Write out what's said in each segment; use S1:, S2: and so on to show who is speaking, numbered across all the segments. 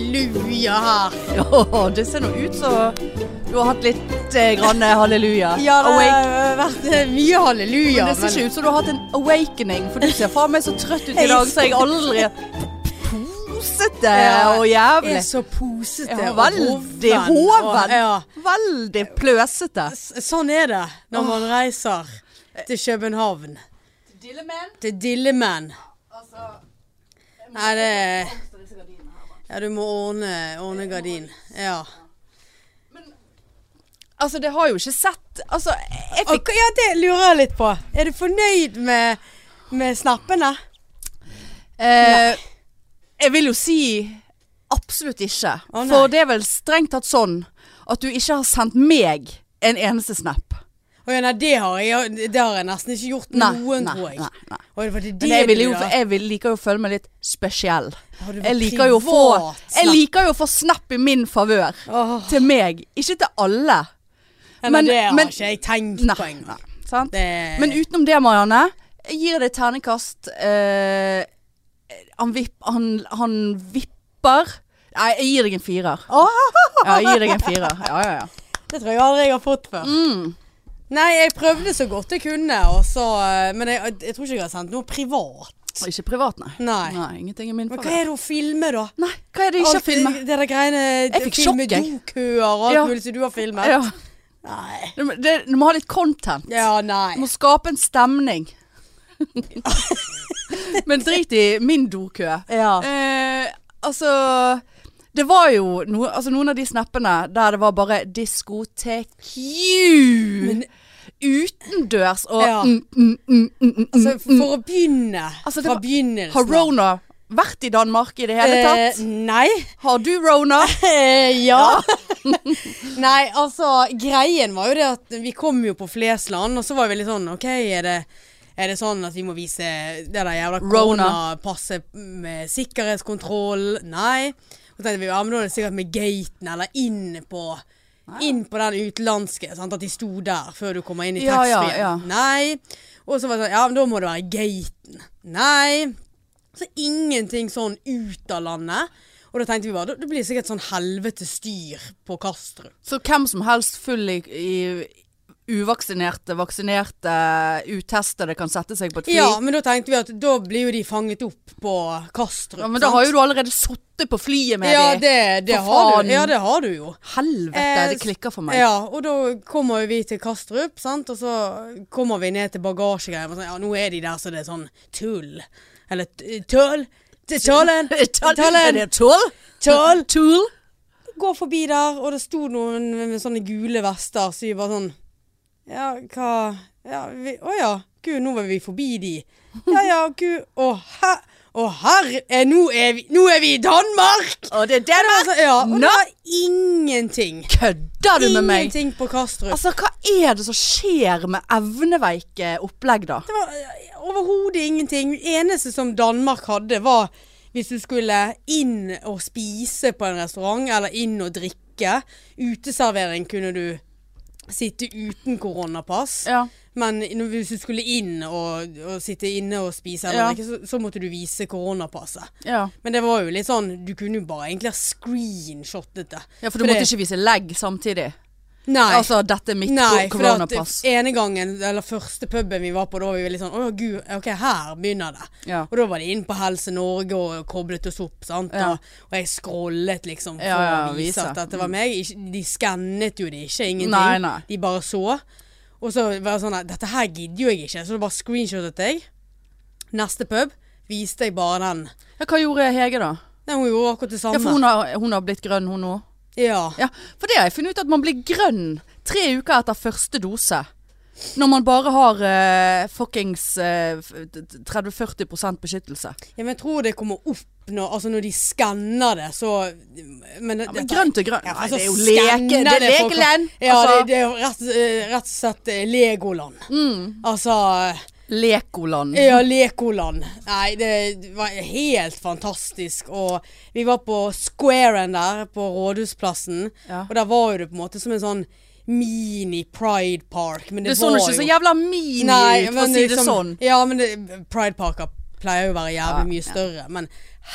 S1: halleluja her. Åh, det ser nå ut som du har hatt litt eh, grann halleluja.
S2: Ja, det
S1: Awake.
S2: har vært mye
S1: eh,
S2: halleluja.
S1: Men det ser
S2: men-
S1: ikke ut som du har hatt en awakening, for du ser faen meg så trøtt ut i
S2: Jeg
S1: dag,
S2: ser-
S1: så jeg aldri Posete
S2: Ja,
S1: Eh, og
S2: Jeg
S1: jævlig.
S2: er så posete
S1: Ja,
S2: og
S1: veldig
S2: hoven, og-
S1: hoven.
S2: Ja.
S1: Veldig pløsete.
S2: S- Sånn er det når man reiser til København. Til Dillemen. Nei, det Ja, du må ordne, ordne gardin. Ja.
S1: Altså, det har jo ikke sett Altså, jeg
S2: Og, ja, det lurer jeg litt på. Er du fornøyd med, med snappene?
S1: Eh, jeg vil jo si absolutt ikke.
S2: Å, nei.
S1: for det er vel strengt tatt sånn at du ikke har sendt meg en eneste snap.
S2: Å ja, nei, det har jeg, det har jeg nesten ikke gjort
S1: Nei,
S2: noen,
S1: nei,
S2: tror jeg.
S1: nei, nei.
S2: Og det var det
S1: Men jeg, vil jo,
S2: du da-
S1: jeg vil, liker jo å føle meg litt spesiell.
S2: Har du
S1: Jeg
S2: vært
S1: liker jo å få,
S2: privat
S1: jeg
S2: snap?
S1: liker jo å få snap i min favør.
S2: Åh,
S1: Til meg, ikke til alle.
S2: nei,
S1: eh, men-
S2: det har
S1: men-
S2: ikke jeg tenkt på
S1: Nei,
S2: engang.
S1: nei, sant?
S2: Det-
S1: Men utenom det, Marianne, jeg gir det terningkast eh, han, vipp, han, han vipper Nei, jeg gir deg en firer. Ja, jeg gir deg en firer. Ja, ja, ja.
S2: Det tror jeg aldri jeg har fått før.
S1: Mm.
S2: Nei, jeg prøvde så godt jeg kunne, og så, eh, men jeg, jeg tror ikke jeg har sendt noe privat.
S1: Ikke privat, nei.
S2: Nei.
S1: ingenting er min
S2: Men hva er det å filme, da?
S1: Nei, hva er det ikke
S2: Alt
S1: å filme?
S2: Det, det der greiene
S1: Jeg fikk
S2: filme
S1: sjokk, jeg.
S2: dokuer og alt
S1: Ja.
S2: mulig som du har filmet.
S1: Ja.
S2: Nei.
S1: Du, må- det, du må ha litt content.
S2: Ja,
S1: Du
S2: nei.
S1: må skape en stemning. Men drit i min dokø.
S2: Ja.
S1: Eh, altså Det var jo noe, altså noen av de snappene der det var bare diskotek you! Utendørs og
S2: Ja.
S1: mm, mm, mm, mm, mm,
S2: Altså, for å begynne
S1: Altså, det
S2: fra
S1: var-
S2: begynnelsen.
S1: Har Rona vært i Danmark i det hele tatt?
S2: Eh, nei.
S1: Har du Rona?
S2: Eh, ja. Nei, altså, greien var jo det at vi kom jo på Flesland, og så var vi litt sånn OK, er det, er det sånn at vi må vise det der jævla
S1: Rona.
S2: koronapasset med sikkerhetskontroll? Nei. Og så tenkte vi ja, men da er det sikkert med gaten, eller inn på inn på den utenlandske, sant? at de sto der før du kommer inn i
S1: Ja, ja,
S2: taxfree-en.
S1: ja.
S2: Nei. Og så var det sånn, ja, men da må det være gaten. Nei. Så ingenting sånn ut av landet. Og da tenkte vi bare, da- det blir sikkert sånn helvete styr på Kastrup.
S1: Så hvem som helst full i, i uvaksinerte, vaksinerte, utestede kan sette seg på et fly?
S2: Ja, men da tenkte vi at da blir jo de fanget opp på Kastrup.
S1: Ja, men da har jo du allerede sittet på flyet med
S2: Ja,
S1: dem.
S2: det, det
S1: For
S2: har
S1: faen.
S2: du. Ja, det har du jo.
S1: Helvete,
S2: Eh,
S1: det klikker for meg.
S2: Ja, og da kommer jo vi til Kastrup, sant? og så kommer vi ned til bagasjegreier. og Sånn, ja, nå er de der, så det er sånn tull. Eller t- tull. Til tullen.
S1: Tull- Er
S2: Tullen.
S1: det tull?
S2: Tull.
S1: Tull?
S2: Gå forbi der, og det sto noen med sånne gule vester, så vi bare sånn Ja, hva Ja, vi Å ja. Gud, nå var vi forbi de. Ja ja, gud. Å, her... Å, herre eh, nå, er vi... nå er vi i Danmark!
S1: Og det er det
S2: Ja, det var så- ja, og
S1: Nå
S2: det var ingenting.
S1: kødder du med meg!
S2: Ingenting på Kastrup.
S1: Altså, hva er det som skjer med evneveike opplegg, da?
S2: Det var eh, overhodet ingenting. Det eneste som Danmark hadde, var hvis du skulle inn og spise på en restaurant, eller inn og drikke. Uteservering kunne du sitte uten koronapass.
S1: Ja.
S2: Men når- hvis du skulle inn og, og sitte inne og spise, eller
S1: Ja.
S2: drikke, så, så måtte du vise koronapasset.
S1: Ja.
S2: Men det var jo litt sånn, du kunne jo bare egentlig ha screenshottet det.
S1: ja, for du
S2: Fordi-
S1: måtte ikke vise legg samtidig.
S2: Nei.
S1: Altså, dette er mitt
S2: Nei,
S1: ko-
S2: for at
S1: koronapass.
S2: ene gangen, eller første puben vi var på, da var vi litt sånn Å gud, ok, her begynner det.
S1: Ja.
S2: Og da var de inn på Helse Norge og koblet oss opp, sant.
S1: Ja.
S2: Og, og jeg scrollet liksom for
S1: Ja, ja,
S2: å vise,
S1: vise.
S2: at dette var meg. Ikke- De skannet jo det ikke, ingenting.
S1: Nei, nei.
S2: De bare så. Og så var jeg sånn nei, Dette her gidder jo jeg ikke, så da bare screenshotet jeg. Neste pub viste jeg bare den.
S1: Ja, hva gjorde Hege, da?
S2: Nei, hun gjorde akkurat det samme.
S1: Ja, for hun har, hun har blitt grønn, hun òg.
S2: Ja.
S1: Ja, for det har jeg funnet ut at man blir grønn tre uker etter første dose. Når man bare har eh, fuckings eh, f- 30-40 beskyttelse.
S2: Ja, men jeg tror det kommer opp når, altså når de skanner det, så
S1: Men
S2: men, dette-
S1: grønt er grønt.
S2: Ja,
S1: Nei,
S2: altså,
S1: det er jo
S2: skanner
S1: leke, det er
S2: for-
S1: lekeland.
S2: Ja,
S1: altså,
S2: det, det er jo rett, eh, rett og slett eh, Legoland.
S1: Mm.
S2: Altså
S1: Lekoland.
S2: Ja, Lekoland. Nei, det var helt fantastisk. Og vi var på squaren der, på Rådhusplassen.
S1: Ja.
S2: Og der var jo det på en måte som en sånn mini Pride Park. Men det,
S1: Det så
S2: var
S1: ikke
S2: jo
S1: så jævla mini ut, for å si det
S2: liksom-
S1: sånn.
S2: Ja, men det, Pride Park har pleier jo å være jævlig
S1: Ja,
S2: mye større, men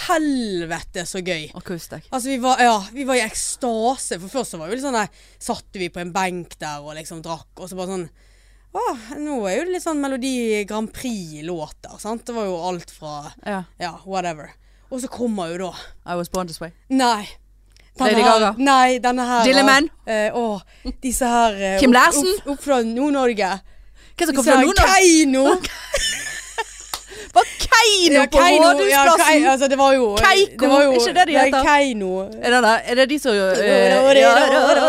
S2: helvete så gøy.
S1: Og kos deg.
S2: Altså, vi var, ja, vi var i ekstase. For først så var vi litt sånn der Satt vi på en benk der og liksom drakk, og så bare sånn Å, nå er jo det litt sånn Melodi Grand Prix-låter, sant. Det var jo alt fra
S1: Ja.
S2: Ja, whatever. Og så kommer jo da
S1: I was born this way.
S2: Nei.
S1: Lady
S2: her,
S1: Gaga.
S2: Nei, denne her.
S1: Dilleman.
S2: eh, åh, disse her eh,
S1: Kim
S2: opp-
S1: Larsen.
S2: Opp, opp fra Nord-Norge.
S1: Hva som kom
S2: Disse
S1: fra
S2: her
S1: Nord-Norge?
S2: Keiino.
S1: Var Keiino
S2: Ja,
S1: på
S2: Keiino, ja,
S1: Rådhusplassen?
S2: Kei- altså, det var jo
S1: Keiko,
S2: det var jo,
S1: ikke det de
S2: nei,
S1: heter?
S2: Keiino.
S1: Er det det? Er det de som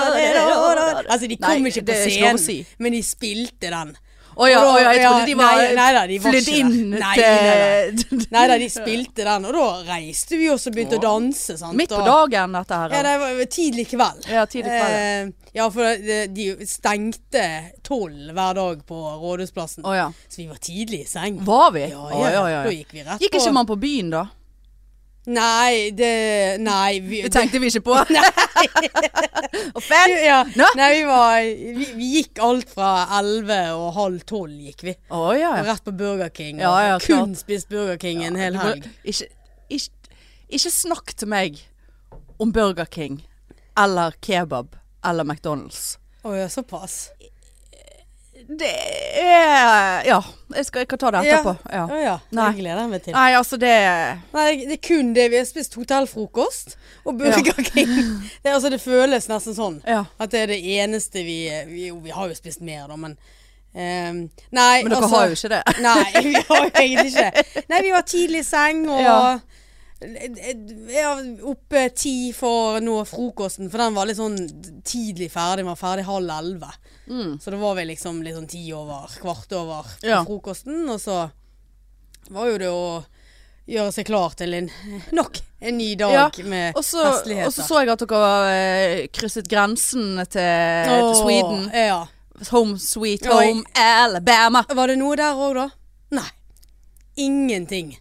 S2: Altså, de kom
S1: Nei,
S2: ikke
S1: det
S2: på
S1: er ikke lov
S2: scenen,
S1: å si.
S2: men de spilte den.
S1: Å ja,
S2: Og da-
S1: å ja, jeg trodde
S2: ja,
S1: de var
S2: nei, nei da, de var
S1: flydd
S2: ikke
S1: inn
S2: det. Nei,
S1: til
S2: Nei da, de spilte den, og da reiste vi også og begynte å danse. Sant?
S1: Midt på
S2: Og-
S1: dagen, dette her.
S2: Ja, det var tidlig kveld.
S1: Ja, tidlig kveld,
S2: Eh, ja, for de, de stengte tolv hver dag på Rådhusplassen.
S1: Å ja.
S2: Så vi var tidlig i seng.
S1: Var vi?
S2: Ja,
S1: Å, ja, ja,
S2: Da
S1: ja.
S2: gikk vi rett
S1: Gikk ikke
S2: på.
S1: man på byen da?
S2: Nei, det Nei. Vi,
S1: Det tenkte vi ikke på. Offend!
S2: ja.
S1: Nå?
S2: Nei, vi var Vi, vi gikk alt fra elleve og halv tolv gikk vi.
S1: Å ja.
S2: Og Rett på Burger King.
S1: Ja, ja,
S2: og kun
S1: klart.
S2: spist Burger King en hel
S1: Du må-
S2: helg.
S1: Ikke, ikke, ikke snakk til meg om Burger King eller kebab eller McDonald's.
S2: Å ja, såpass.
S1: Det er Ja, jeg, skal, jeg kan ta det etterpå. Ja.
S2: Å ja.
S1: Nei.
S2: Det gleder jeg meg til.
S1: Nei, altså det
S2: Nei, det er kun det. Vi har spist hotellfrokost og Burger King. Det, er altså, det føles nesten sånn.
S1: Ja.
S2: At det er det eneste vi Vi, jo, vi har jo spist mer, da, men ehm, Nei,
S1: Men dere
S2: altså-
S1: har jo ikke det.
S2: Nei, vi har jo egentlig ikke. Nei, vi var tidlig i seng og
S1: Ja.
S2: ja, oppe ti for å nå frokosten, for den var litt sånn tidlig ferdig. Den var ferdig halv elleve. Så da var vi liksom litt sånn ti over, kvart over på
S1: Mm. Ja.
S2: frokosten. Og så var jo det å gjøre seg klar til en, nok en ny dag
S1: Ja,
S2: med
S1: Og så
S2: festligheter.
S1: og så så jeg at dere eh, krysset grensen til, til
S2: Åh,
S1: Sweden.
S2: Ja.
S1: Home sweet
S2: Oi.
S1: home Alabama.
S2: Var det noe der òg, da? Nei. Ingenting.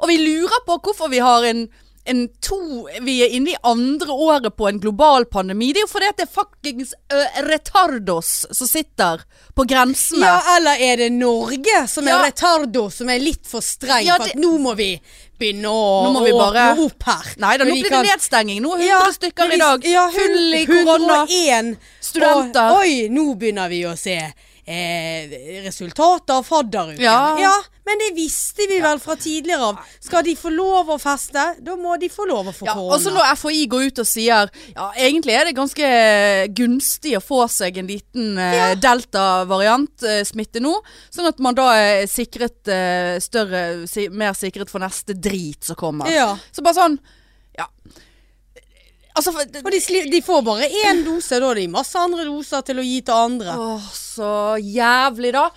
S1: Og vi lurer på hvorfor vi har en, en to Vi er inne i andre året på en global pandemi. Det er jo fordi at det er fuckings ø, retardos som sitter på grensene.
S2: Ja, eller er det Norge som
S1: Ja.
S2: er retardo, som er litt for streng
S1: Ja,
S2: for
S1: det-
S2: at nå må vi begynne å
S1: Nå må vi bare-
S2: åpne opp her.
S1: Nei da, nå
S2: Men vi
S1: blir
S2: kan-
S1: det nedstenging. Nå er 100 stykker
S2: men
S1: i
S2: vi-
S1: dag.
S2: Ja,
S1: Full i korona.
S2: 101
S1: Studenter.
S2: Og, oi, nå begynner vi å se eh, resultater av fadderuken.
S1: Ja.
S2: men det visste vi vel fra tidligere av. Skal de få lov å feste, da må de få lov å få
S1: Ja,
S2: korona.
S1: og så når FHI går ut og sier Ja, egentlig er det ganske gunstig å få seg en liten eh, delta-variant eh, smitte nå. Sånn at man da er sikret eh, større si, Mer sikret for neste drit som kommer.
S2: Ja.
S1: Så bare sånn Ja. Altså for, det,
S2: Og de, sli- de får bare én dose, da har de masse andre doser til å gi til andre.
S1: Åh, så jævlig da.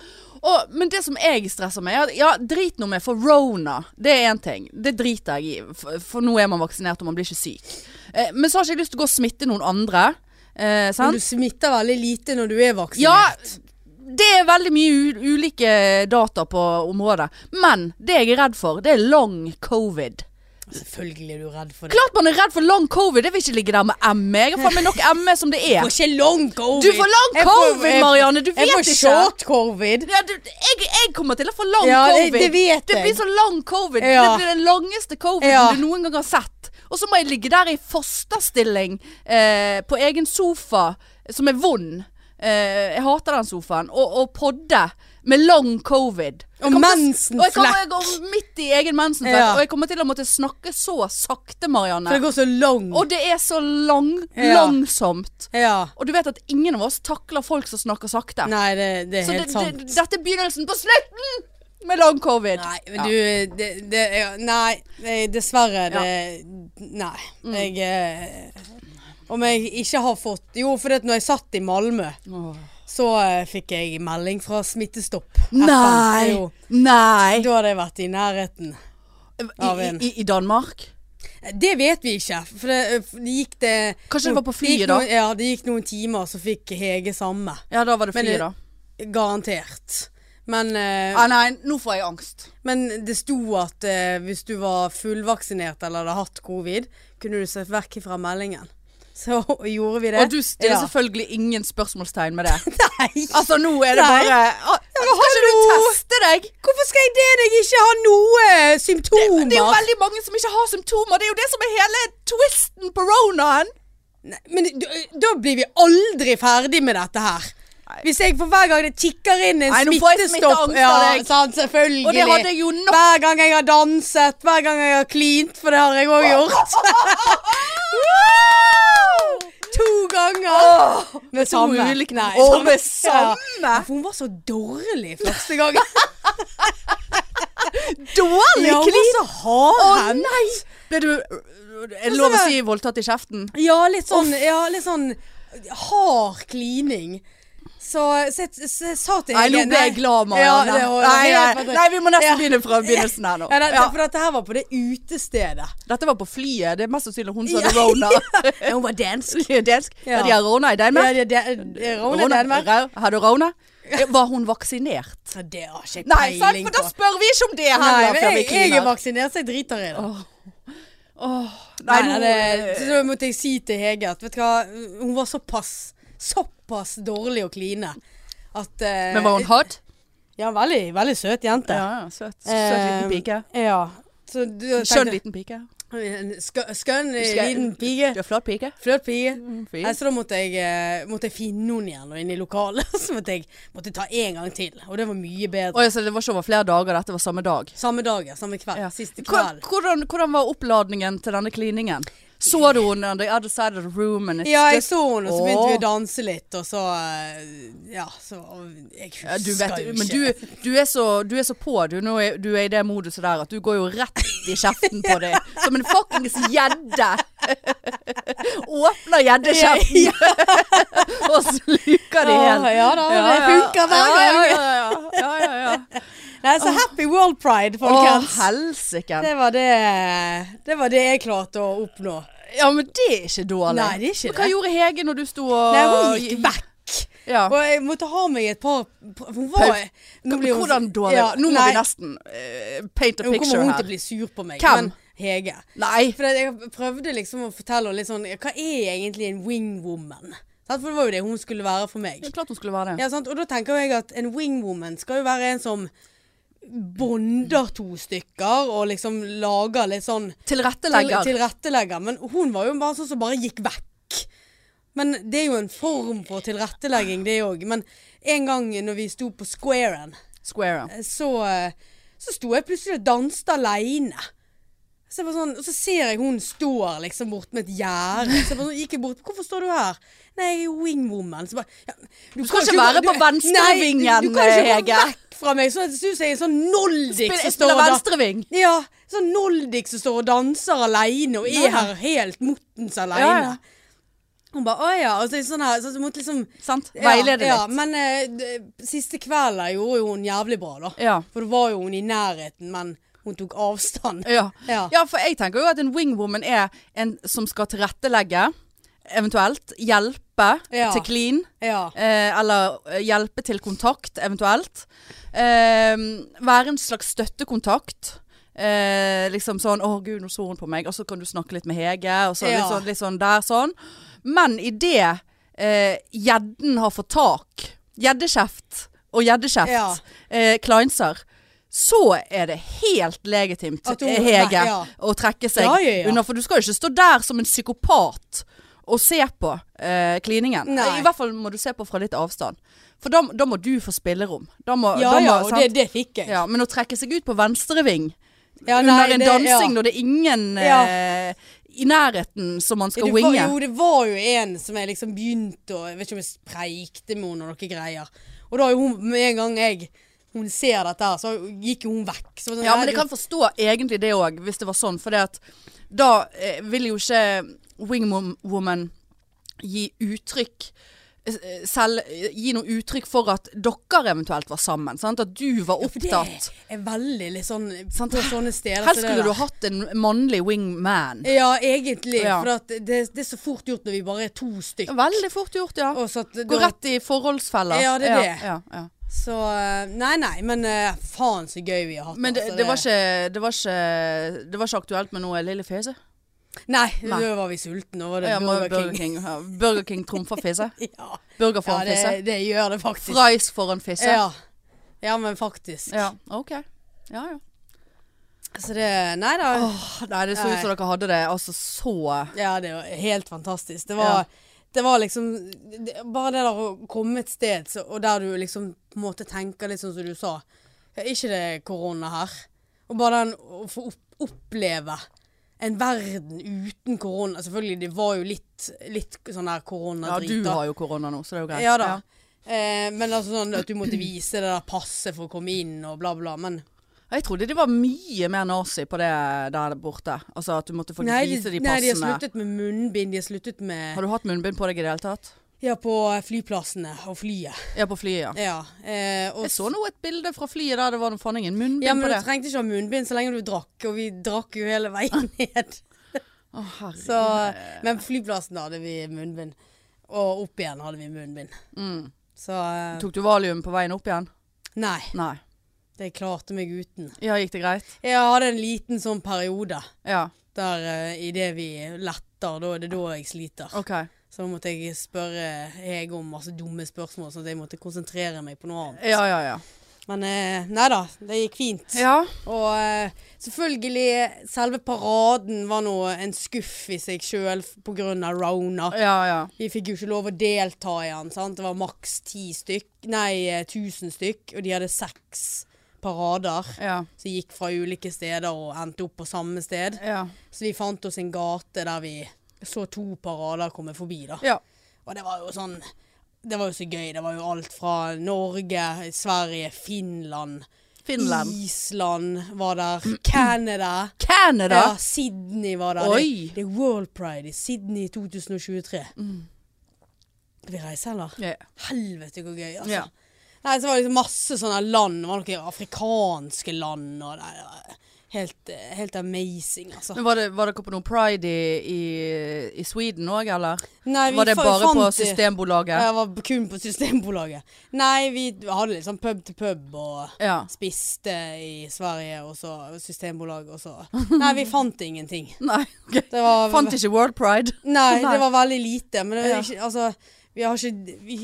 S1: Og, men det som jeg stresser med, er at ja, drit nå med for rona. Det er én ting. Det driter jeg i, for, for nå er man vaksinert og man blir ikke syk. Eh, men så har ikke jeg lyst til å gå og smitte noen andre. Eh,
S2: Men
S1: sant?
S2: du smitter veldig lite når du er vaksinert.
S1: Ja, det er veldig mye u ulike data på området. Men det jeg er redd for, det er long covid.
S2: Selvfølgelig er du redd for det.
S1: Klart man er redd for long covid. Jeg vil ikke ligge der med ME. Jeg har faen meg nok ME som det
S2: Du
S1: er.
S2: får ikke long covid.
S1: Du får long
S2: Jeg får-
S1: covid,
S2: jeg-
S1: Marianne, du
S2: Jeg
S1: vet
S2: får
S1: ikke.
S2: short covid.
S1: Ja, du, jeg, jeg kommer til å få lang
S2: Ja, det-
S1: covid.
S2: det vet jeg.
S1: blir så lang covid.
S2: Ja.
S1: Det blir den langeste covid
S2: Ja.
S1: du noen gang har sett. Og så må jeg ligge der i fosterstilling eh, på egen sofa, som er vond. Eh, jeg hater den sofaen. Og, og podde med lang covid. Jeg
S2: Og
S1: kommer til-
S2: mensen
S1: Og jeg kommer-
S2: flekk.
S1: jeg går midt i egen mensenflekk.
S2: Ja.
S1: Og jeg kommer til å måtte snakke så sakte,
S2: For det
S1: Marianne.
S2: går så long.
S1: Og det er så lang,
S2: Ja.
S1: langsomt.
S2: Ja.
S1: Og du vet at ingen av oss takler folk som snakker sakte.
S2: Nei, det, det er
S1: Så
S2: helt
S1: det,
S2: sant.
S1: det, dette er begynnelsen på slutten med long covid.
S2: Nei, men
S1: Ja.
S2: du det, det, ja, Nei, eh, dessverre. Det, Nei.
S1: Mm.
S2: Jeg eh, Om jeg ikke har fått Jo, for det at når jeg satt i Malmö,
S1: Åh.
S2: så eh, fikk jeg melding fra Smittestopp.
S1: Nei!
S2: Jo.
S1: Nei!
S2: Da hadde jeg vært i nærheten. av
S1: I,
S2: en.
S1: i, I Danmark?
S2: Det vet vi ikke. For det, for det gikk det
S1: Kanskje det var på flyet,
S2: gikk
S1: da?
S2: noen- Ja, det gikk noen timer, så fikk Hege samme.
S1: Ja, da var det
S2: Men
S1: flyet,
S2: det-
S1: da.
S2: Garantert. Men, eh,
S1: Ah, nei, nå får jeg angst.
S2: men det sto at eh, hvis du var fullvaksinert eller hadde hatt covid, kunne du sett vekk fra meldingen. Så gjorde vi det.
S1: Og du stiller
S2: ja.
S1: selvfølgelig ingen spørsmålstegn med det.
S2: Nei!
S1: Altså, nå er det
S2: Nei.
S1: bare ah, Skal ikke du
S2: hallo!
S1: teste deg?
S2: Hvorfor skal jeg det når jeg ikke har noe eh, symptomer?
S1: Det er jo veldig mange som ikke har symptomer. Det er jo det som er hele twisten på ronaen.
S2: Nei, men d- da blir vi aldri ferdig med dette her.
S1: Nei.
S2: Hvis jeg for hver gang det tikker inn en
S1: Nei, nå får jeg
S2: smittestopp
S1: smitteangst av
S2: Ja,
S1: deg.
S2: sant, selvfølgelig.
S1: Og det hadde jeg jo nok.
S2: Hver gang jeg har danset, hver gang jeg har klint, for det har jeg òg gjort. to ganger. Med samme.
S1: ulike-
S2: Nei,
S1: Å, med
S2: Ja.
S1: samme.
S2: For hun var så dårlig første gang.
S1: Dårlig
S2: ja, hun var
S1: klin!
S2: så hardhendt.
S1: nei! Altså, Ble du Er det lov å si voldtatt i kjeften?
S2: Ja, litt sånn, ja, litt sånn hard klining. Så, så, jeg- så jeg sa til
S1: Nei, nå ble jeg glad, Marianne.
S2: Ja, det var-
S1: nei,
S2: helt
S1: nei,
S2: fantastisk.
S1: nei, vi må nesten
S2: Ja.
S1: begynne fra begynnelsen her nå.
S2: Ja, det,
S1: Ja.
S2: For dette her var på det utestedet.
S1: Dette var på flyet. Det er mest sannsynlig hun som
S2: Ja.
S1: hadde rona.
S2: Hun var dansk.
S1: Dansk.
S2: Ja.
S1: Ja. De har rona i Danmark.
S2: Ja, det, det, det, Rona
S1: Rona-
S2: Danmark.
S1: Ra- Har du rona? Var hun vaksinert?
S2: Så Det har ikke jeg
S1: Nei, sant?
S2: peiling
S1: for
S2: på.
S1: da spør vi ikke om det
S2: Nei,
S1: heller
S2: men
S1: før vi
S2: jeg, jeg er
S1: kliner.
S2: vaksinert, så jeg driter i det.
S1: Nei,
S2: Nei,
S1: nå-
S2: det, så da måtte jeg si til Hege at vet du hva, hun var såpass, såpass dårlig å kline at eh,
S1: Men var hun hot?
S2: Ja, veldig, veldig søt jente.
S1: ja. Søt, søt liten pike.
S2: Eh, Ja. Så du
S1: Skjønn liten pike.
S2: liten Skønn
S1: Skø-
S2: liten pige.
S1: Du er flott pike.
S2: Flott pige.
S1: Fin.
S2: Nei, så da måtte jeg, eh, måtte jeg finne noen igjen og inn i lokalet. Så måtte jeg måtte ta en gang til. Og det var mye bedre.
S1: Oi, så det var ikke over flere dager, dette var samme dag.
S2: Samme dag, ja. Samme kveld.
S1: Ja.
S2: Siste
S1: Hvor-
S2: kveld.
S1: Hvordan, hvordan var oppladningen til denne kliningen? Så du henne on the other side of the room? And it's
S2: Ja, jeg
S1: just-
S2: så henne, og så begynte vi
S1: Åh.
S2: å danse litt, og så eh, Ja, så Jeg husker
S1: Ja, du
S2: jo
S1: vet,
S2: ikke.
S1: men du, du, er så, du er så på du, nå er, du er i det moduset der at du går jo rett i kjeften på det. Som en fuckings gjedde. Åpner gjeddekjeften, og sluker det helt.
S2: Åh, ja da, det funker hver gang.
S1: Ja, ja, ja. ja, ja, ja.
S2: Nei, så happy world
S1: Å,
S2: pride, folkens.
S1: helsike.
S2: det var det Det var det jeg klarte å oppnå.
S1: Ja, men det er ikke dårlig.
S2: Nei, det er ikke
S1: men hva
S2: det.
S1: gjorde Hege når du sto og
S2: Nei, hun gikk vekk.
S1: Ja.
S2: Og jeg måtte ha meg et par Hun var
S1: Pau-
S2: nå blir hun-
S1: Hvordan dårlig?
S2: Ja,
S1: nå må
S2: nei,
S1: vi nesten eh, paint a
S2: Nå
S1: picture
S2: kommer hun
S1: her.
S2: til å bli sur på meg.
S1: Hvem?
S2: Men Hege.
S1: Nei.
S2: For at jeg prøvde liksom å fortelle henne litt sånn Hva er egentlig en wingwoman? Sant? For det var jo det hun skulle være for meg.
S1: Det er klart hun skulle være det.
S2: Ja, sant? Og da tenker jeg at en wingwoman skal jo være en som bonder to stykker og liksom lager litt sånn
S1: Tilrettelegger.
S2: Til, tilrettelegger. Men hun var jo bare sånn som bare gikk vekk. Men det er jo en form for tilrettelegging, det òg. Men en gang når vi sto på squaren,
S1: Square.
S2: så, så sto jeg plutselig og danset aleine. Så jeg var sånn, og så ser jeg hun står liksom bort med et gjerde. Så jeg bare sånn, gikk jeg bort. 'Hvorfor står du her?' 'Nei, jeg er jo wingwoman'. Så bare, ja, du,
S1: skal
S2: kan
S1: ikke være
S2: gå-
S1: på venstre
S2: Nei,
S1: vingen,
S2: du, du kan ikke gå
S1: Hege.
S2: vekk fra meg. Sånn at jeg synes jeg er en sånn noldik
S1: Spiller,
S2: som står
S1: spiller
S2: og da-
S1: venstreving.
S2: Ja, sånn noldik som står og danser aleine, og
S1: Ja.
S2: er her helt muttens
S1: Ja, ja.
S2: aleine. Hun bare 'Å ja'. Og så er det sånn her, så jeg måtte liksom
S1: Sant?
S2: ja,
S1: Veilede
S2: ja,
S1: litt.
S2: Men eh, d- siste kvelden gjorde jo hun jævlig bra, da.
S1: Ja.
S2: For det var jo hun i nærheten, men hun tok avstand.
S1: Ja.
S2: Ja.
S1: ja, for jeg tenker jo at en wingwoman er en som skal tilrettelegge, eventuelt hjelpe
S2: Ja.
S1: til clean,
S2: Ja.
S1: eh, eller eh, hjelpe til kontakt, eventuelt. Eh, være en slags støttekontakt. Eh, liksom sånn 'Å, gud, nå så hun på meg', og så kan du snakke litt med Hege, og så
S2: Ja.
S1: litt, sånn, litt sånn der, sånn. Men idet eh, gjedden har fått tak, gjeddekjeft og gjeddekjeft,
S2: Ja.
S1: eh, kleinser, så er det helt legitimt, eh,
S2: At hun-
S1: Hege,
S2: Nei, ja.
S1: å trekke seg
S2: Ja, ja, ja.
S1: unna. For du skal jo ikke stå der som en psykopat og se på eh, kliningen.
S2: Nei.
S1: I hvert fall må du se på fra litt avstand. For da, da må du få spillerom. Da må,
S2: Ja
S1: da må,
S2: ja, og
S1: sant?
S2: det, det fikk jeg.
S1: ja, men å trekke seg ut på venstreving
S2: Ja, nei,
S1: under en
S2: det-
S1: dansing når
S2: ja.
S1: det er ingen
S2: Ja.
S1: eh, i nærheten som man skal
S2: Det var,
S1: winge.
S2: jo, det var jo en som jeg liksom begynte å Jeg vet ikke om jeg preikte med henne og noen greier. Og da er jo hun Med en gang jeg hun ser dette her, så gikk jo hun vekk. Så var det sånn,
S1: Ja,
S2: nei,
S1: men jeg
S2: du-
S1: kan forstå egentlig det òg, hvis det var sånn. For det at da eh, vil jo ikke Wingwoman gi uttrykk eh, selv, Gi noe uttrykk for at dere eventuelt var sammen. Sant? At du var
S2: For det
S1: opptatt.
S2: er veldig litt sånn På sånne steder.
S1: Helst
S2: så det
S1: skulle
S2: der.
S1: du hatt en mannlig wingman.
S2: Ja, egentlig.
S1: Ja.
S2: For at det, det er så fort gjort når vi bare er to stykker.
S1: Veldig fort gjort, ja.
S2: Og så at
S1: Gå
S2: da-
S1: rett i forholdsfella.
S2: Ja, det er det.
S1: Ja, ja.
S2: Så eh, Nei, nei, men eh, faen så gøy vi har hatt.
S1: Men det,
S2: altså,
S1: det, var ikke, det, var ikke, det var ikke aktuelt med noe Lille Fese?
S2: Nei,
S1: Nei.
S2: da var vi sultne, og var det
S1: Ja,
S2: Burger King.
S1: ja. Burger King trumfer fise.
S2: Ja,
S1: Burger
S2: ja
S1: foran
S2: det,
S1: fise.
S2: det gjør det faktisk.
S1: Fries foran fisse.
S2: Ja. Ja, men faktisk.
S1: Ja, ok. Ja, ja.
S2: Så det Nei da.
S1: Åh, nei, det så ut som dere hadde det altså så
S2: Ja, det var helt fantastisk. Det var, det var liksom det, Bare det der å komme et sted så, og der du liksom på en måte tenker litt sånn som du sa. Er ikke det korona her? Og bare den å få opp, oppleve en verden uten korona Selvfølgelig, det var jo litt, litt sånn der
S1: Ja,
S2: koronadrit.
S1: du
S2: da.
S1: har jo korona nå, så det er jo greit.
S2: Ja da. Eh, men altså sånn at du måtte vise det der passet for å komme inn og bla, bla. Men
S1: Ja. Jeg trodde de var mye mer nazi på det der borte. Altså at du måtte faktisk
S2: nei,
S1: vise de
S2: de,
S1: passene.
S2: nei, de har sluttet med munnbind. De har sluttet med
S1: Har du hatt munnbind på deg i det hele tatt?
S2: Ja, på flyplassene og flyet.
S1: Ja, på flyet, ja.
S2: Ja, eh, og
S1: Jeg så nå et bilde fra flyet der det var noe faen ingen munnbind
S2: ja, men
S1: på
S2: du
S1: det.
S2: trengte ikke ha munnbind så lenge du drakk, og vi drakk jo hele veien ned.
S1: Å, herregud.
S2: Så, men på flyplassen da hadde vi munnbind, og opp igjen hadde vi munnbind.
S1: Mm.
S2: Så eh,
S1: Tok du valium på veien opp igjen?
S2: nei,
S1: Nei.
S2: det klarte meg uten.
S1: Ja, gikk det greit?
S2: Jeg hadde en liten sånn periode
S1: Ja,
S2: der eh, i det vi letter, da er det da jeg sliter.
S1: ok.
S2: Så da måtte jeg spørre Hege om masse dumme spørsmål, sånn at jeg måtte konsentrere meg på noe annet.
S1: Ja, ja, ja.
S2: Men eh, nei da, det gikk fint.
S1: Ja,
S2: Og eh, selvfølgelig, selve paraden var nå en skuff i seg sjøl pga. rona.
S1: ja, ja.
S2: Vi fikk jo ikke lov å delta i den. sant? Det var maks ti stykk, nei, eh, 1000 stykk, og de hadde seks parader
S1: Ja,
S2: som gikk fra ulike steder og endte opp på samme sted.
S1: ja.
S2: Så vi fant oss en gate der vi så to parader komme forbi, da.
S1: ja.
S2: Og det var jo sånn Det var jo så gøy. Det var jo alt fra Norge, Sverige, Finland,
S1: Finland. Mm,
S2: Island var der, Canada.
S1: Canada!
S2: Ja, Sydney var der.
S1: Oi.
S2: Det, det er World Pride i Sydney 2023.
S1: Mm.
S2: Skal vi reise, eller?
S1: Ja.
S2: Helvete, hvor gøy, altså.
S1: Ja.
S2: Nei, så var det liksom masse sånne land. Det var noen afrikanske land og det var helt, eh, helt amazing, altså.
S1: Men var, det, var dere på noe pride i, i, i Sweden òg, eller?
S2: Nei,
S1: var det
S2: fa-
S1: bare på
S2: fant det-
S1: Systembolaget?
S2: Jeg var kun på Systembolaget. Nei, vi hadde litt sånn pub til pub og
S1: Ja.
S2: spiste i Sverige, og så Systembolaget, og så Nei, vi fant ingenting.
S1: Nei, ok.
S2: Det var
S1: Fant ikke World Pride.
S2: Nei,
S1: Nei.
S2: det var veldig lite. Men det
S1: Ja.
S2: var ikke, altså, vi har ikke vi,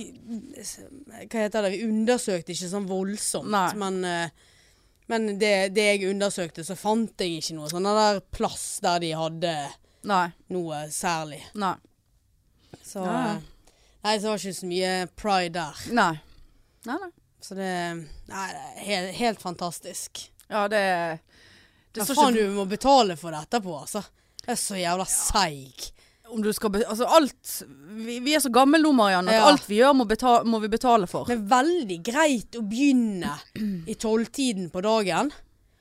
S2: Hva heter det? Vi undersøkte ikke sånn voldsomt.
S1: Nei.
S2: Men, eh, men det, det jeg undersøkte, så fant jeg ikke noe sånn den der plass der de hadde
S1: Nei.
S2: noe særlig.
S1: Nei.
S2: Så eh,
S1: Ja.
S2: Nei, så det var ikke så mye pride der.
S1: Nei. Nei, nei.
S2: Så det Nei, det er helt, helt fantastisk.
S1: Ja, det Det
S2: Men
S1: står
S2: faen,
S1: ikke
S2: du må betale for det etterpå, altså. Det er så jævla seig.
S1: om du skal be Altså alt Vi, vi er så gamle nå, Marianne, at
S2: Ja.
S1: alt vi gjør må, beta må vi betale for.
S2: Men veldig greit å begynne i tolvtiden på dagen,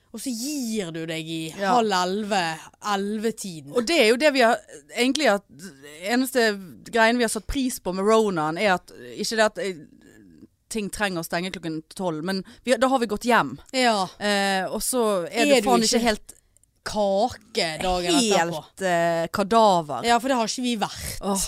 S2: og så gir du deg i
S1: Ja.
S2: halv elleve, ellevetiden.
S1: Og det er jo det vi har Egentlig at eneste greien vi har satt pris på med Ronan, er at Ikke det at eh, ting trenger å stenge klokken tolv, men vi, da har vi gått hjem.
S2: Ja.
S1: Eh, og så er,
S2: Er
S1: det
S2: du
S1: faen
S2: ikke
S1: ikke helt, eh,
S2: Kake dagen etterpå. Eh,
S1: helt eh, kadaver.
S2: Ja, for det har ikke vi vært.
S1: Åh,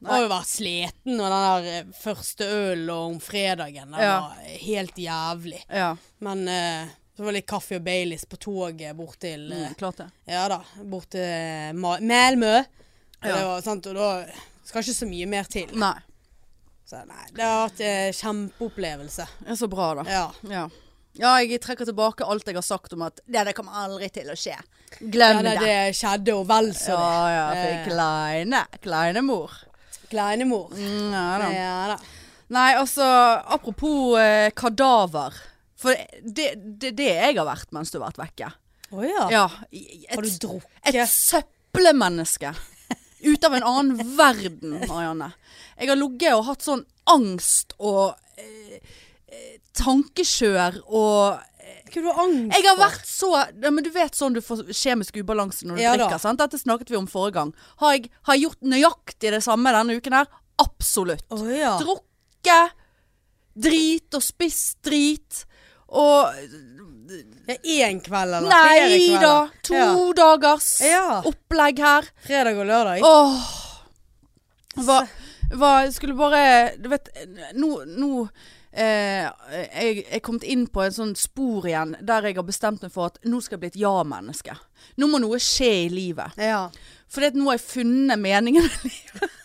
S2: Vi har jo vært sliten, og den der eh, første ølen om fredagen, den
S1: Ja.
S2: var helt jævlig.
S1: ja.
S2: Men eh, så var det litt kaffe og Baileys på toget bort til eh,
S1: Mm, klart det.
S2: Ja da, bort til eh, Ma- Malmö. Og
S1: Ja.
S2: det var sant, og da skal ikke så mye mer til.
S1: Nei.
S2: Så nei, det har vært eh, kjempeopplevelse.
S1: Det er så bra, da.
S2: Ja.
S1: Ja. ja, jeg trekker tilbake alt jeg har sagt om at det, det kommer aldri til å skje. Glem
S2: Ja, det,
S1: det.
S2: det skjedde og vel så
S1: Ja, ja,
S2: Eh.
S1: for kleine, kleine mor.
S2: det. Kleinemor.
S1: Mm, ja, da.
S2: Ja da.
S1: Nei, altså, apropos eh, kadaver. For det, det, det jeg har vært mens du har vært vekke.
S2: Å ja.
S1: Ja, i-
S2: Har du
S1: et,
S2: drukket?
S1: et søppelmenneske. Ut av en annen verden, Marianne. Jeg har ligget og hatt sånn angst og eh, eh, tankekjør og
S2: Hva du har angst
S1: Jeg har
S2: for?
S1: vært så ja, men Du vet sånn du får kjemisk ubalanse når du
S2: Ja da.
S1: drikker. Sant? Dette snakket vi om forrige gang. Har jeg, har jeg gjort nøyaktig det samme denne uken her? Absolutt.
S2: Å ja.
S1: Drukket drit og spist drit. Og
S2: Det er én kveld eller flere
S1: Nei da!
S2: kvelder?
S1: To
S2: Ja.
S1: dagers
S2: Ja.
S1: opplegg her.
S2: Fredag og lørdag.
S1: Åh Hva, hva Skulle bare Du vet Nå, nå eh, jeg jeg er kommet inn på en sånn spor igjen der jeg har bestemt meg for at nå skal jeg bli et ja-menneske. Nå må noe skje i livet.
S2: Ja.
S1: For nå har jeg funnet meningen med livet.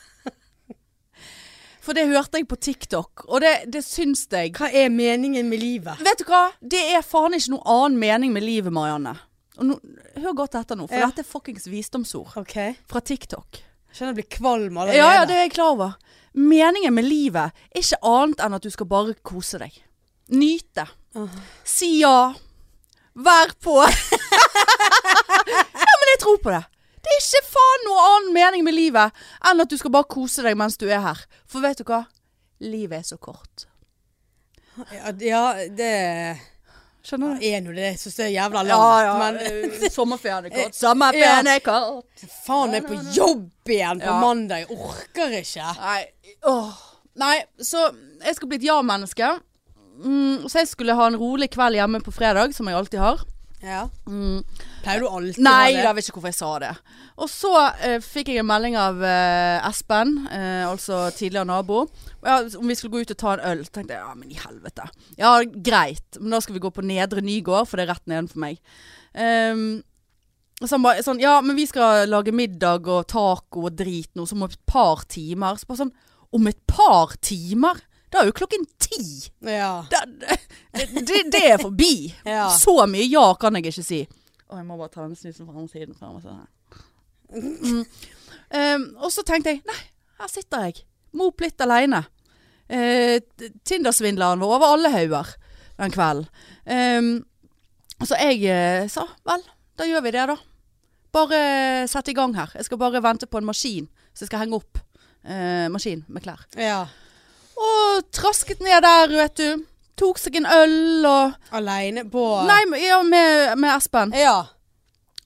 S1: For det hørte jeg på TikTok, og det, det syns jeg
S2: Hva er meningen med livet?
S1: Vet du hva? Det er faen ikke noen annen mening med livet, Marianne. Og nå, hør godt etter nå, for
S2: Ja.
S1: dette er fuckings visdomsord
S2: Ok.
S1: fra TikTok.
S2: Jeg kjenner jeg blir kvalm allerede.
S1: Ja, ja, det er jeg klar over. Meningen med livet er ikke annet enn at du skal bare kose deg. Nyte.
S2: Åh.
S1: Si ja. Vær på. ja, men jeg tror på det. Det er ikke faen noe annen mening med livet enn at du skal bare kose deg mens du er her. For vet du hva? Livet er så kort.
S2: Ja, d- ja, det
S1: Skjønner du?
S2: er nå det. Jeg synes det er jævla
S1: Ja,
S2: langt.
S1: ja.
S2: Men
S1: eh, Sommerferien er kort. Sommerferien er kort.
S2: faen, jeg er på jobb igjen på
S1: Ja.
S2: mandag. Jeg orker ikke.
S1: Nei, åh. Nei, så jeg skal bli et ja-menneske. Mm, så jeg skulle ha en rolig kveld hjemme på fredag, som jeg alltid har.
S2: Ja.
S1: Mm.
S2: Pleier du alltid
S1: Nei,
S2: å ha
S1: jeg
S2: det?
S1: vet ikke hvorfor jeg sa det. Og så eh, fikk jeg en melding av eh, Espen, eh, altså tidligere nabo, ja, om vi skulle gå ut og ta en øl. tenkte jeg, ja, men i helvete. Ja, greit, men da skal vi gå på Nedre Nygård, for det er rett nedenfor meg. Ehm, så han bare sånn, ja, men vi skal lage middag og taco og drit nå, så om et par timer. Så bare sånn, om et par timer? Da er jo klokken ti!
S2: Ja.
S1: det, det- det, det er forbi.
S2: Ja.
S1: Så mye ja kan jeg ikke si. Å, jeg må bare ta den snusen fra andre siden. Fra andre siden her. Mm. Um, og så tenkte jeg, nei, her sitter jeg. Mop litt alene. Eh, t- Tinder-svindleren var over alle hauger den kvelden. Um, så jeg eh, sa, vel, da gjør vi det da. Bare eh, sett i gang her. Jeg skal bare vente på en maskin, så jeg skal henge opp eh, maskin med klær.
S2: ja.
S1: Og trasket ned der, vet du. Tok seg en øl og
S2: Aleine på
S1: Nei, men- ja, med, med Espen.
S2: Ja.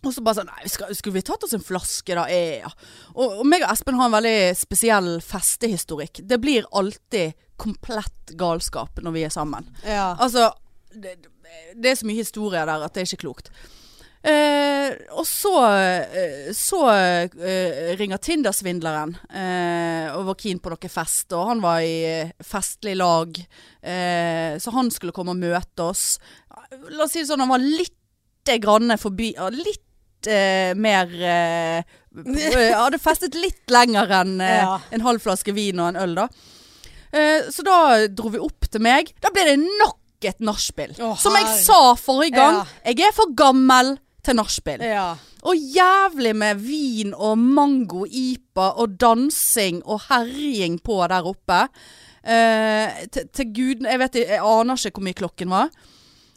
S1: Og så bare sånn Nei, vi skal, skulle vi tatt oss en flaske, da? Eh, ja. Og, og meg og Espen har en veldig spesiell festehistorikk. Det blir alltid komplett galskap når vi er sammen.
S2: Ja.
S1: Altså, det, det er så mye historie der at det er ikke klokt. Eh, og så, eh, så eh, ringer Tinder-svindleren eh, og var keen på noe fest. Og han var i eh, festlig lag, eh, så han skulle komme og møte oss. La oss si det sånn, han var litt grann forbi ja, Litt eh, mer eh, eh, Hadde festet litt lenger enn eh,
S2: Ja.
S1: en halv flaske vin og en øl, da. Eh, så da dro vi opp til meg. Da ble det nok et nachspiel.
S2: Å,
S1: Som jeg
S2: herre.
S1: sa forrige gang,
S2: Ja. Eh.
S1: jeg er for gammel til nachspiel.
S2: Ja.
S1: Og jævlig med vin og mango-ipa og dansing og herjing på der oppe. Eh, til, til guden Jeg vet jeg aner ikke hvor mye klokken var.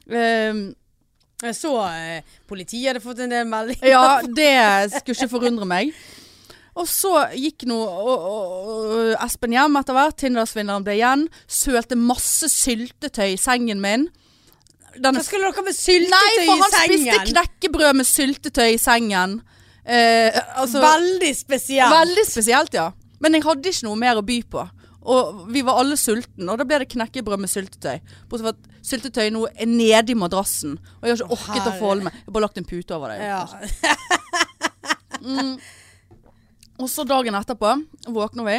S1: Eh,
S2: Jeg så eh, politiet hadde fått en del meldinger.
S1: Ja, det skulle ikke forundre meg. Og så gikk nå og- og- og Espen hjem etter hvert. Tinder-svindleren ble igjen. Sølte masse syltetøy i sengen min. Den er
S2: Hva skulle dere med
S1: Nei,
S2: syltetøy
S1: for
S2: i
S1: han spiste
S2: sengen?
S1: knekkebrød med syltetøy i sengen. Eh, altså,
S2: Veldig spesielt.
S1: veldig spesielt, ja. Men jeg hadde ikke noe mer å by på. Og vi var alle sultne, og da ble det knekkebrød med syltetøy. Bortsett fra at syltetøy nå er nede i madrassen, og jeg har ikke orket å
S2: herre.
S1: forholde meg. Jeg har bare lagt en pute over det.
S2: Ja.
S1: Og så dagen etterpå våkner vi.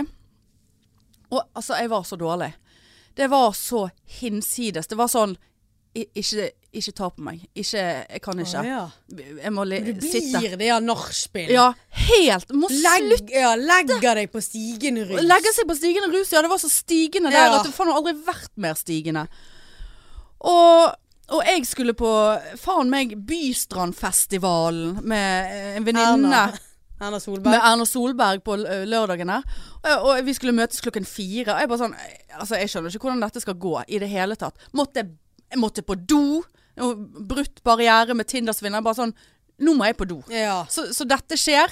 S1: Og altså, jeg var så dårlig. Det var så hinsides. Det var sånn "I- Ikke, ikke ta på meg. Ikke Jeg kan ikke.
S2: Å, ja.
S1: Jeg må li
S2: Det
S1: sitte.
S2: blir det ja nachspiel.
S1: Ja, helt. Må slutte.
S2: Legg, ja, legger deg på stigen rundt.
S1: Legge seg på stigende rus. Ja, det var så stigende der
S2: Ja.
S1: at det faen har aldri vært mer stigende. Og, og jeg skulle på faen meg Bystrandfestivalen med eh, en venninne.
S2: Erna. Erna Solberg.
S1: med Erna Solberg på l- lørdagen her. Og, og vi skulle møtes klokken fire. Og jeg bare sånn Altså, jeg skjønner ikke hvordan dette skal gå i det hele tatt. Måtte, jeg måtte på do. og Brutt barriere med Tinder-svinner. Bare sånn Nå må jeg på do.
S2: ja.
S1: Så, så dette skjer.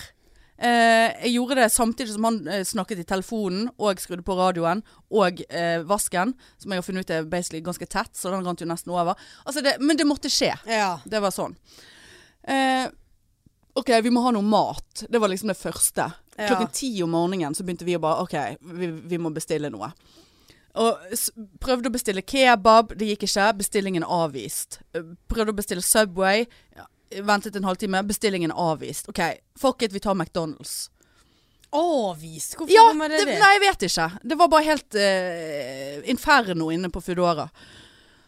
S1: Eh, jeg gjorde det samtidig som han eh, snakket i telefonen og skrudde på radioen og eh, vasken, som jeg har funnet ut er basically ganske tett, så den rant jo nesten over. Altså det, men det måtte skje.
S2: ja.
S1: Det var sånn. Eh, ok, vi må ha noe mat. Det var liksom det første.
S2: Ja.
S1: Klokken ti om morgenen så begynte vi å bare OK, vi, vi må bestille noe. Og s prøvde å bestille kebab, det gikk ikke. Bestillingen avvist. Eh, Prøvde å bestille Subway, ja, ventet en halvtime. Bestillingen avvist. OK, fuck it, vi tar McDonald's.
S2: Avvist? Hvorfor
S1: Ja,
S2: kommer
S1: det,
S2: det det?
S1: nei, jeg vet ikke. Det var bare helt eh, inferno inne på Foodora.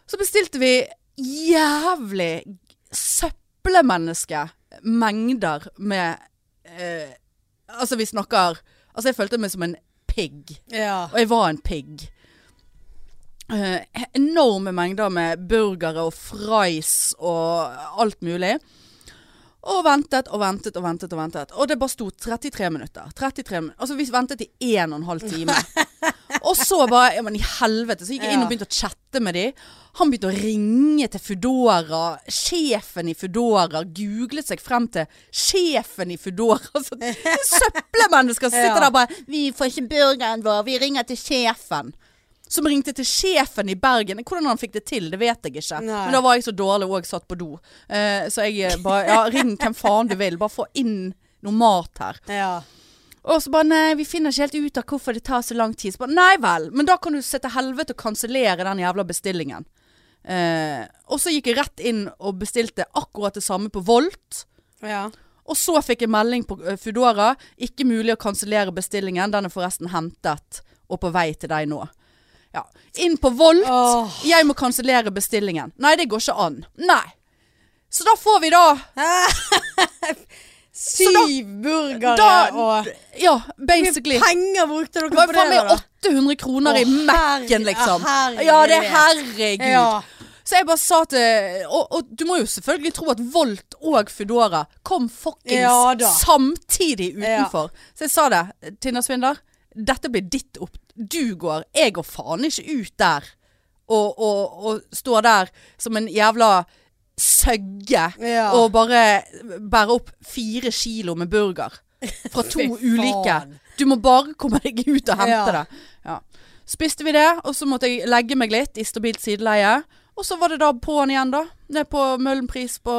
S1: Så bestilte vi jævlig søppelmenneske mengder med eh, Altså, vi snakker Altså, jeg følte meg som en pigg.
S2: Ja.
S1: Og jeg var en pigg. Eh, enorme mengder med burgere og fries og alt mulig. Og ventet og ventet og ventet. Og ventet Og det bare sto 33 minutter. 33 min altså Vi ventet i 1 12 timer. Og så bare ja, men I helvete. Så gikk jeg inn og begynte å chatte med de. Han begynte å ringe til Foodora. Sjefen i Foodora googlet seg frem til sjefen i Foodora. Så søppelmennesker som sitter
S2: Ja.
S1: der og bare 'Vi får ikke burgeren vår. Vi ringer til sjefen.' Som ringte til sjefen i Bergen. Hvordan han fikk det til, det vet jeg ikke.
S2: Nei.
S1: Men da var jeg så dårlig og satt på do. Eh, så jeg eh, bare Ja, ring hvem faen du vil. Bare få inn noe mat her.
S2: ja.
S1: Og så bare nei, vi finner ikke helt ut av hvorfor det tar så lang tid. Så bare nei vel, men da kan du se til helvete og kansellere den jævla bestillingen. Eh, og så gikk jeg rett inn og bestilte akkurat det samme på Volt.
S2: ja.
S1: Og så fikk jeg melding på eh, Foodora. Ikke mulig å kansellere bestillingen. Den er forresten hentet og på vei til deg nå. Ja. Inn på Volt.
S2: Åh.
S1: Jeg må kansellere bestillingen. Nei, det går ikke an. Nei. Så da får vi da
S2: Syv burgere
S1: da
S2: og
S1: Ja,
S2: Hvor
S1: basically.
S2: mye penger brukte dere
S1: Det var
S2: på
S1: jo
S2: det?
S1: faen meg
S2: da?
S1: 800 kroner
S2: Å,
S1: i Mac-en,
S2: herre-
S1: liksom.
S2: ja, herregud.
S1: Ja, det er herregud.
S2: Ja.
S1: Så jeg bare sa til og, og du må jo selvfølgelig tro at Volt og Foodora kom fuckings
S2: Ja da.
S1: samtidig utenfor. Så jeg sa det. Tindersvindler, dette blir ditt opp... Du går. Jeg går faen ikke ut der og, og, og står der som en jævla søgge
S2: Ja.
S1: og bare bærer opp fire kilo med burger fra to
S2: Fy faen.
S1: ulike. Du må bare komme deg ut og hente
S2: Ja.
S1: det. Ja. Spiste vi det, og så måtte jeg legge meg litt i stabilt sideleie. Og så var det da på'n igjen, da. Ned på Møhlenpris på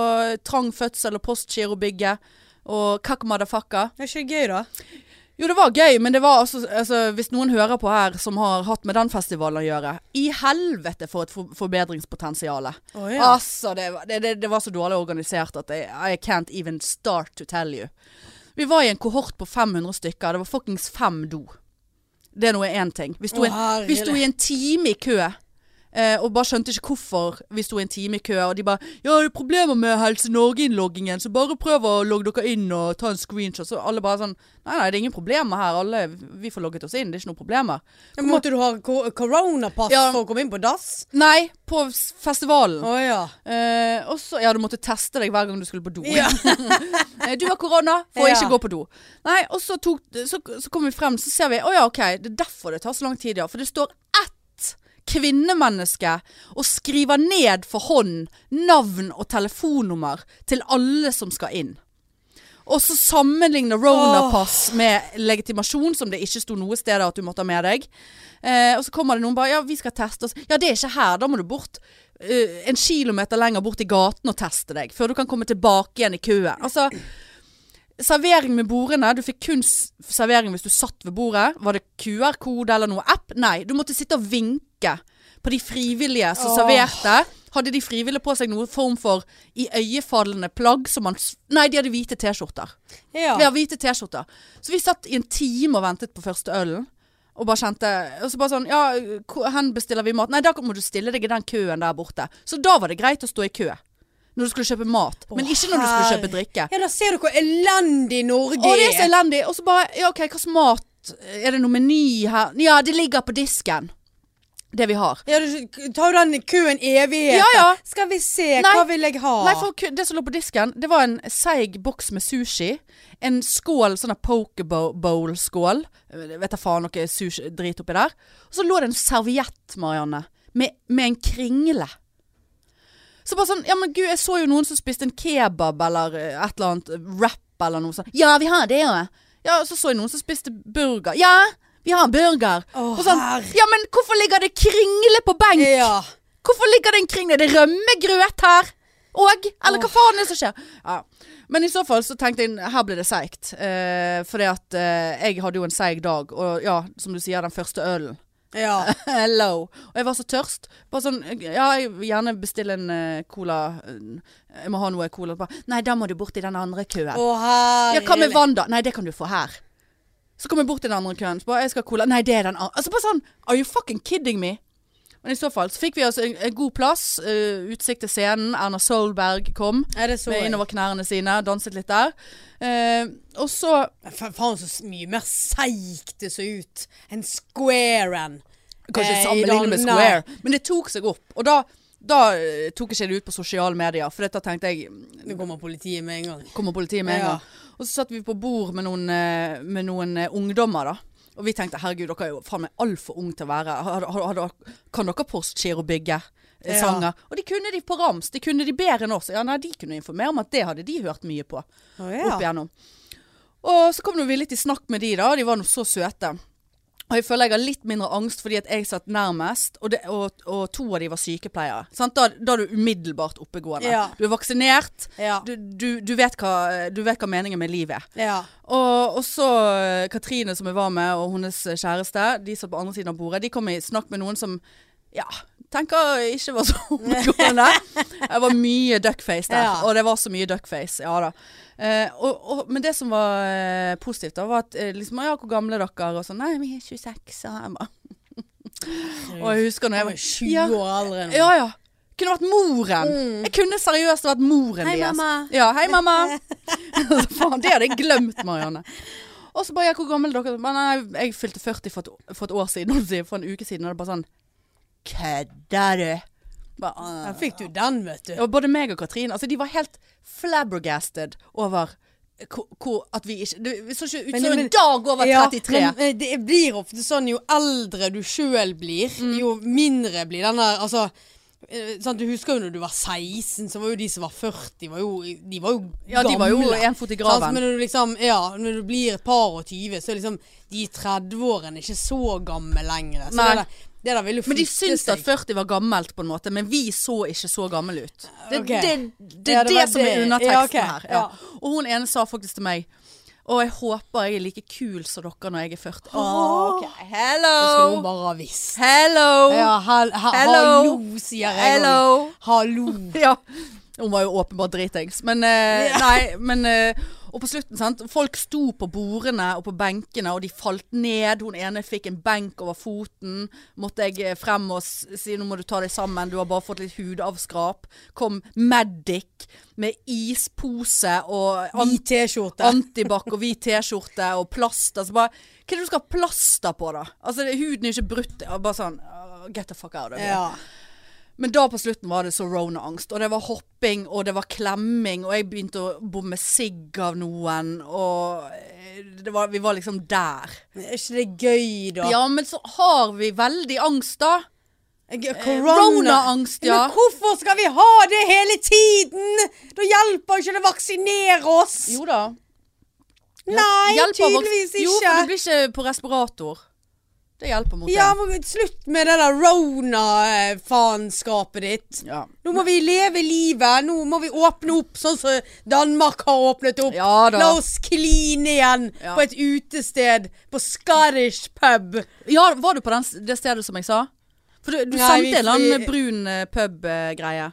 S1: Trang fødsel og Postgirobygget. Og kakk madafakka.
S2: Det er ikke det gøy, da?
S1: Jo, det var gøy, men det var altså, altså Hvis noen hører på her som har hatt med den festivalen å gjøre I helvete for et for forbedringspotensial.
S2: Å, ja.
S1: Altså, det, var- det, det, det var så dårlig organisert at jeg, I can't even start to tell you. Vi var i en kohort på 500 stykker. Det var fuckings fem do. Det er noe én ting. Vi sto,
S2: Å,
S1: en, vi sto
S2: herlig.
S1: i en time i kø. Eh, og bare skjønte ikke hvorfor vi sto i en time i kø. Og de bare 'Ja, det er problemer med Helse Norge-innloggingen, så bare prøv å logge dere inn og ta en screenshot.' Så alle bare sånn 'Nei, nei, det er ingen problemer her. Alle, vi får logget oss inn. Det er ikke noe problemer.'
S2: Ja, men måtte du ha ko- koronapass
S1: Ja. Mm.
S2: for å komme inn på dass?
S1: Nei, på s- festivalen.
S2: Å ja.
S1: Eh, og så, ja, du måtte teste deg hver gang du skulle på do.
S2: Ja.
S1: Eh, du har korona, får
S2: Ja.
S1: ikke gå på do. Nei, og så, tok, så, så kom vi frem, så ser vi, å ja, ok, det er derfor det tar så lang tid, ja. For det står ett kvinnemenneske og skriver ned for hånd navn og telefonnummer til alle som skal inn. Og så sammenligner Rona-pass med legitimasjon, som det ikke sto noe sted at du måtte ha med deg. Eh, og så kommer det noen bare Ja, vi skal teste oss. Ja, det er ikke her. Da må du bort eh, en kilometer lenger bort i gaten og teste deg. Før du kan komme tilbake igjen i køen. Altså Servering med bordene. Du fikk kun s- servering hvis du satt ved bordet. Var det QR-kode eller noe app? Nei. Du måtte sitte og vinke på de frivillige som
S2: Åh.
S1: serverte. Hadde de frivillige på seg noen form for iøynefallende plagg som man s- Nei, de hadde hvite T-skjorter.
S2: ja.
S1: Vi har hvite T-skjorter. Så vi satt i en time og ventet på første ølen. Og bare kjente Og så bare sånn Ja, hvor hen bestiller vi mat? Nei, da må du stille deg i den køen der borte. Så da var det greit å stå i kø. Når du skulle kjøpe mat. Men ikke når du skulle
S2: herre-
S1: kjøpe drikke.
S2: Ja, da ser du hvor elendig Norge
S1: Å, det er så elendig! Og så bare Ja, OK, hva slags mat Er det noe meny her? Ja, det ligger på disken. Det vi har.
S2: Ja, du tar jo den køen evigheter.
S1: Ja, ja.
S2: Skal vi se,
S1: Nei.
S2: hva vil jeg ha?
S1: Nei, for ku- det som lå på disken, det var en seig boks med sushi. En skål, sånn pokebowl-skål. Vet da faen noe sushi-drit oppi der. Og så lå det en serviett, Marianne, med, med en kringle. Så bare sånn, ja men gud, jeg så jo noen som spiste en kebab eller eh, et eller annet wrap eller noe sånt. Ja, vi har det jo. Ja, så så jeg noen som spiste burger. Ja, vi har burger.
S2: Å,
S1: og sånn,
S2: herre.
S1: ja men hvorfor ligger det kringle på benken?
S2: Ja.
S1: Hvorfor ligger det en kringle? Det er rømmegrøt her! Og? Eller hva faen er det som skjer? Ja. Men i så fall så tenkte jeg her ble det seigt. Eh, fordi at eh, jeg hadde jo en seig dag, og ja, som du sier, den første ølen.
S2: ja.
S1: Hello. Og jeg var så tørst. Bare sånn Ja, jeg vil gjerne bestille en eh, cola. Eh, Jeg må ha noe cola. Bare, Nei, da må du bort i den andre køen.
S2: Å, herre.
S1: Ja, hva med vann da? Nei, det kan du få her. Så kom jeg bort til den andre køen. Så bare, jeg skal ha cola. Nei, det er den andre. Altså bare sånn, are you fucking kidding me? Men i så fall så fikk vi altså en, en god plass. eh, utsikt til scenen. Erna Solberg kom
S2: Nei, det så
S1: med
S2: jeg.
S1: innover knærne sine, danset litt der. Eh, og så
S2: Men fa- Faen, så s- mye mer seigt det så ut enn squaren.
S1: Kanskje
S2: Eh, i
S1: sammenligne med
S2: dag-
S1: Square, men det tok seg opp. Og da, da eh, tok ikke det ut på sosiale medier, for da tenkte jeg
S2: Nei, Nå kommer politiet med en gang.
S1: kommer politiet med en
S2: Ja.
S1: gang. Og så satt vi på bord med noen, eh, med noen eh, ungdommer, da. Og vi tenkte herregud, dere er jo faen meg altfor unge til å være har, har, har, Kan dere Porschir og bygge eh,
S2: Ja.
S1: sanger? Og de kunne de på rams. De kunne de bedre enn oss. Ja, nei, de kunne informere om at det hadde de hørt mye på
S2: Å
S1: opp igjennom. Og så kom nå vi litt i snakk med de da, og de var nå så søte. Og jeg føler jeg har litt mindre angst fordi at jeg satt nærmest, og, det, og, og to av de var sykepleiere. Sant? Da, da er du umiddelbart oppegående.
S2: Ja.
S1: Du er vaksinert,
S2: Ja.
S1: du, du, du, vet hva, du vet hva meningen med livet er.
S2: ja.
S1: Og, og så eh, Katrine som jeg var med, og hennes eh, kjæreste, de satt på andre siden av bordet, de kom i snakk med noen som, ja, tenker ikke var så omgående. Det var mye duckface der,
S2: Ja.
S1: og det var så mye duckface, ja da. Eh, og, og, men det som var eh, positivt da, var at eh, liksom, ja, hvor gamle er dere? Og sånn, nei, vi er 26, og jeg bare. Og jeg husker når
S2: Jeg
S1: jeg
S2: var
S1: var
S2: 20
S1: ja,
S2: år eldre enn
S1: Ja, ja. Kunne vært moren. Jeg kunne seriøst vært moren
S2: Mm. Hei,
S1: deres.
S2: mamma.
S1: Ja, hei, mamma. Altså, Faen, det hadde jeg glemt, Marianne. Og så bare, ja, hvor gammel er dere? Men nei, jeg fylte 40 for et, for et år siden, holdt jeg på å si, for en uke siden. Og det er bare sånn, kødder du? Bare,
S2: Ja,
S1: «Ah».
S2: fikk du den, vet du.
S1: og både meg og Katrine, altså de var helt flabbergasted over hvor, hvor at vi ikke, det vi så ikke ut
S2: Men-
S1: som en
S2: men-
S1: dag over 33.
S2: Ja, men eh, det blir ofte sånn jo eldre du sjøl blir,
S1: Mm.
S2: jo mindre blir den der Altså eh, sant, Du husker jo når du var 16, så var jo de som var 40, var jo, de var jo
S1: ja, de var jo
S2: gamle.
S1: en fot i
S2: Sant,
S1: graven.
S2: men når du liksom, ja, når du blir et par og 20, så er liksom de 30-årene ikke så gamle lenger. Så
S1: Nei.
S2: det der, det der vil jo
S1: Men de
S2: flytte
S1: syntes at
S2: seg.
S1: 40 var gammelt på en måte, men vi så ikke så gammel ut. Det er
S2: Ok.
S1: det, det,
S2: Ja,
S1: er
S2: det
S1: det,
S2: var
S1: som
S2: det.
S1: er
S2: Ja,
S1: underteksten
S2: ok.
S1: her. Ja. Og hun ene sa faktisk til meg Å, jeg håper jeg er like kul som dere når jeg er 40. Å, ok.
S2: Så skulle hun
S1: Hello!
S2: bare ha visst.
S1: Hello!
S2: Ja, hel, he-
S1: Hello.
S2: hallo, sier jeg.
S1: Hello!
S2: Hallo.
S1: Ja. Hun var jo åpenbart dritings. Men eh,
S2: Ja.
S1: nei, men eh, Og på slutten, sant. Folk sto på bordene og på benkene, og de falt ned. Hun ene fikk en benk over foten. Måtte jeg eh, frem og s- si nå må du ta deg sammen, du har bare fått litt hudavskrap. Kom Medic med ispose og an
S2: Hvit T-skjorte.
S1: antibac og hvit T-skjorte og plaster. Så bare Hva er det du skal ha plaster på, da? Altså, det- huden er jo ikke brutt. Og Bare sånn uh, Get the fuck out of here.
S2: Ja.
S1: Men da på slutten var det så Rona-angst, og det var hopping, og det var klemming, og jeg begynte å bomme sigg av noen, og eh, det var, vi var liksom der.
S2: Er ikke det gøy, da?
S1: Ja, men så har vi veldig angst da.
S2: Jeg-
S1: Eh, Corona-angst, ja.
S2: Men hvorfor skal vi ha det hele tiden? Da hjelper ikke det å vaksinere oss.
S1: Jo da.
S2: Nei,
S1: Hjelper vaks-
S2: tydeligvis
S1: Jo,
S2: ikke.
S1: for du blir ikke på respirator. Det hjelper mot
S2: Ja,
S1: det.
S2: men Slutt med det der rona-faenskapet ditt.
S1: Ja.
S2: Nå må vi leve livet. Nå må vi åpne opp sånn som Danmark har åpnet opp.
S1: Ja da.
S2: La oss kline igjen
S1: Ja.
S2: på et utested på Scottish pub.
S1: Ja, var du på den, s- det stedet som jeg sa? For du, du
S2: Nei,
S1: sendte
S2: vi-
S1: en eller annen
S2: vi-
S1: brun eh, pub-greie.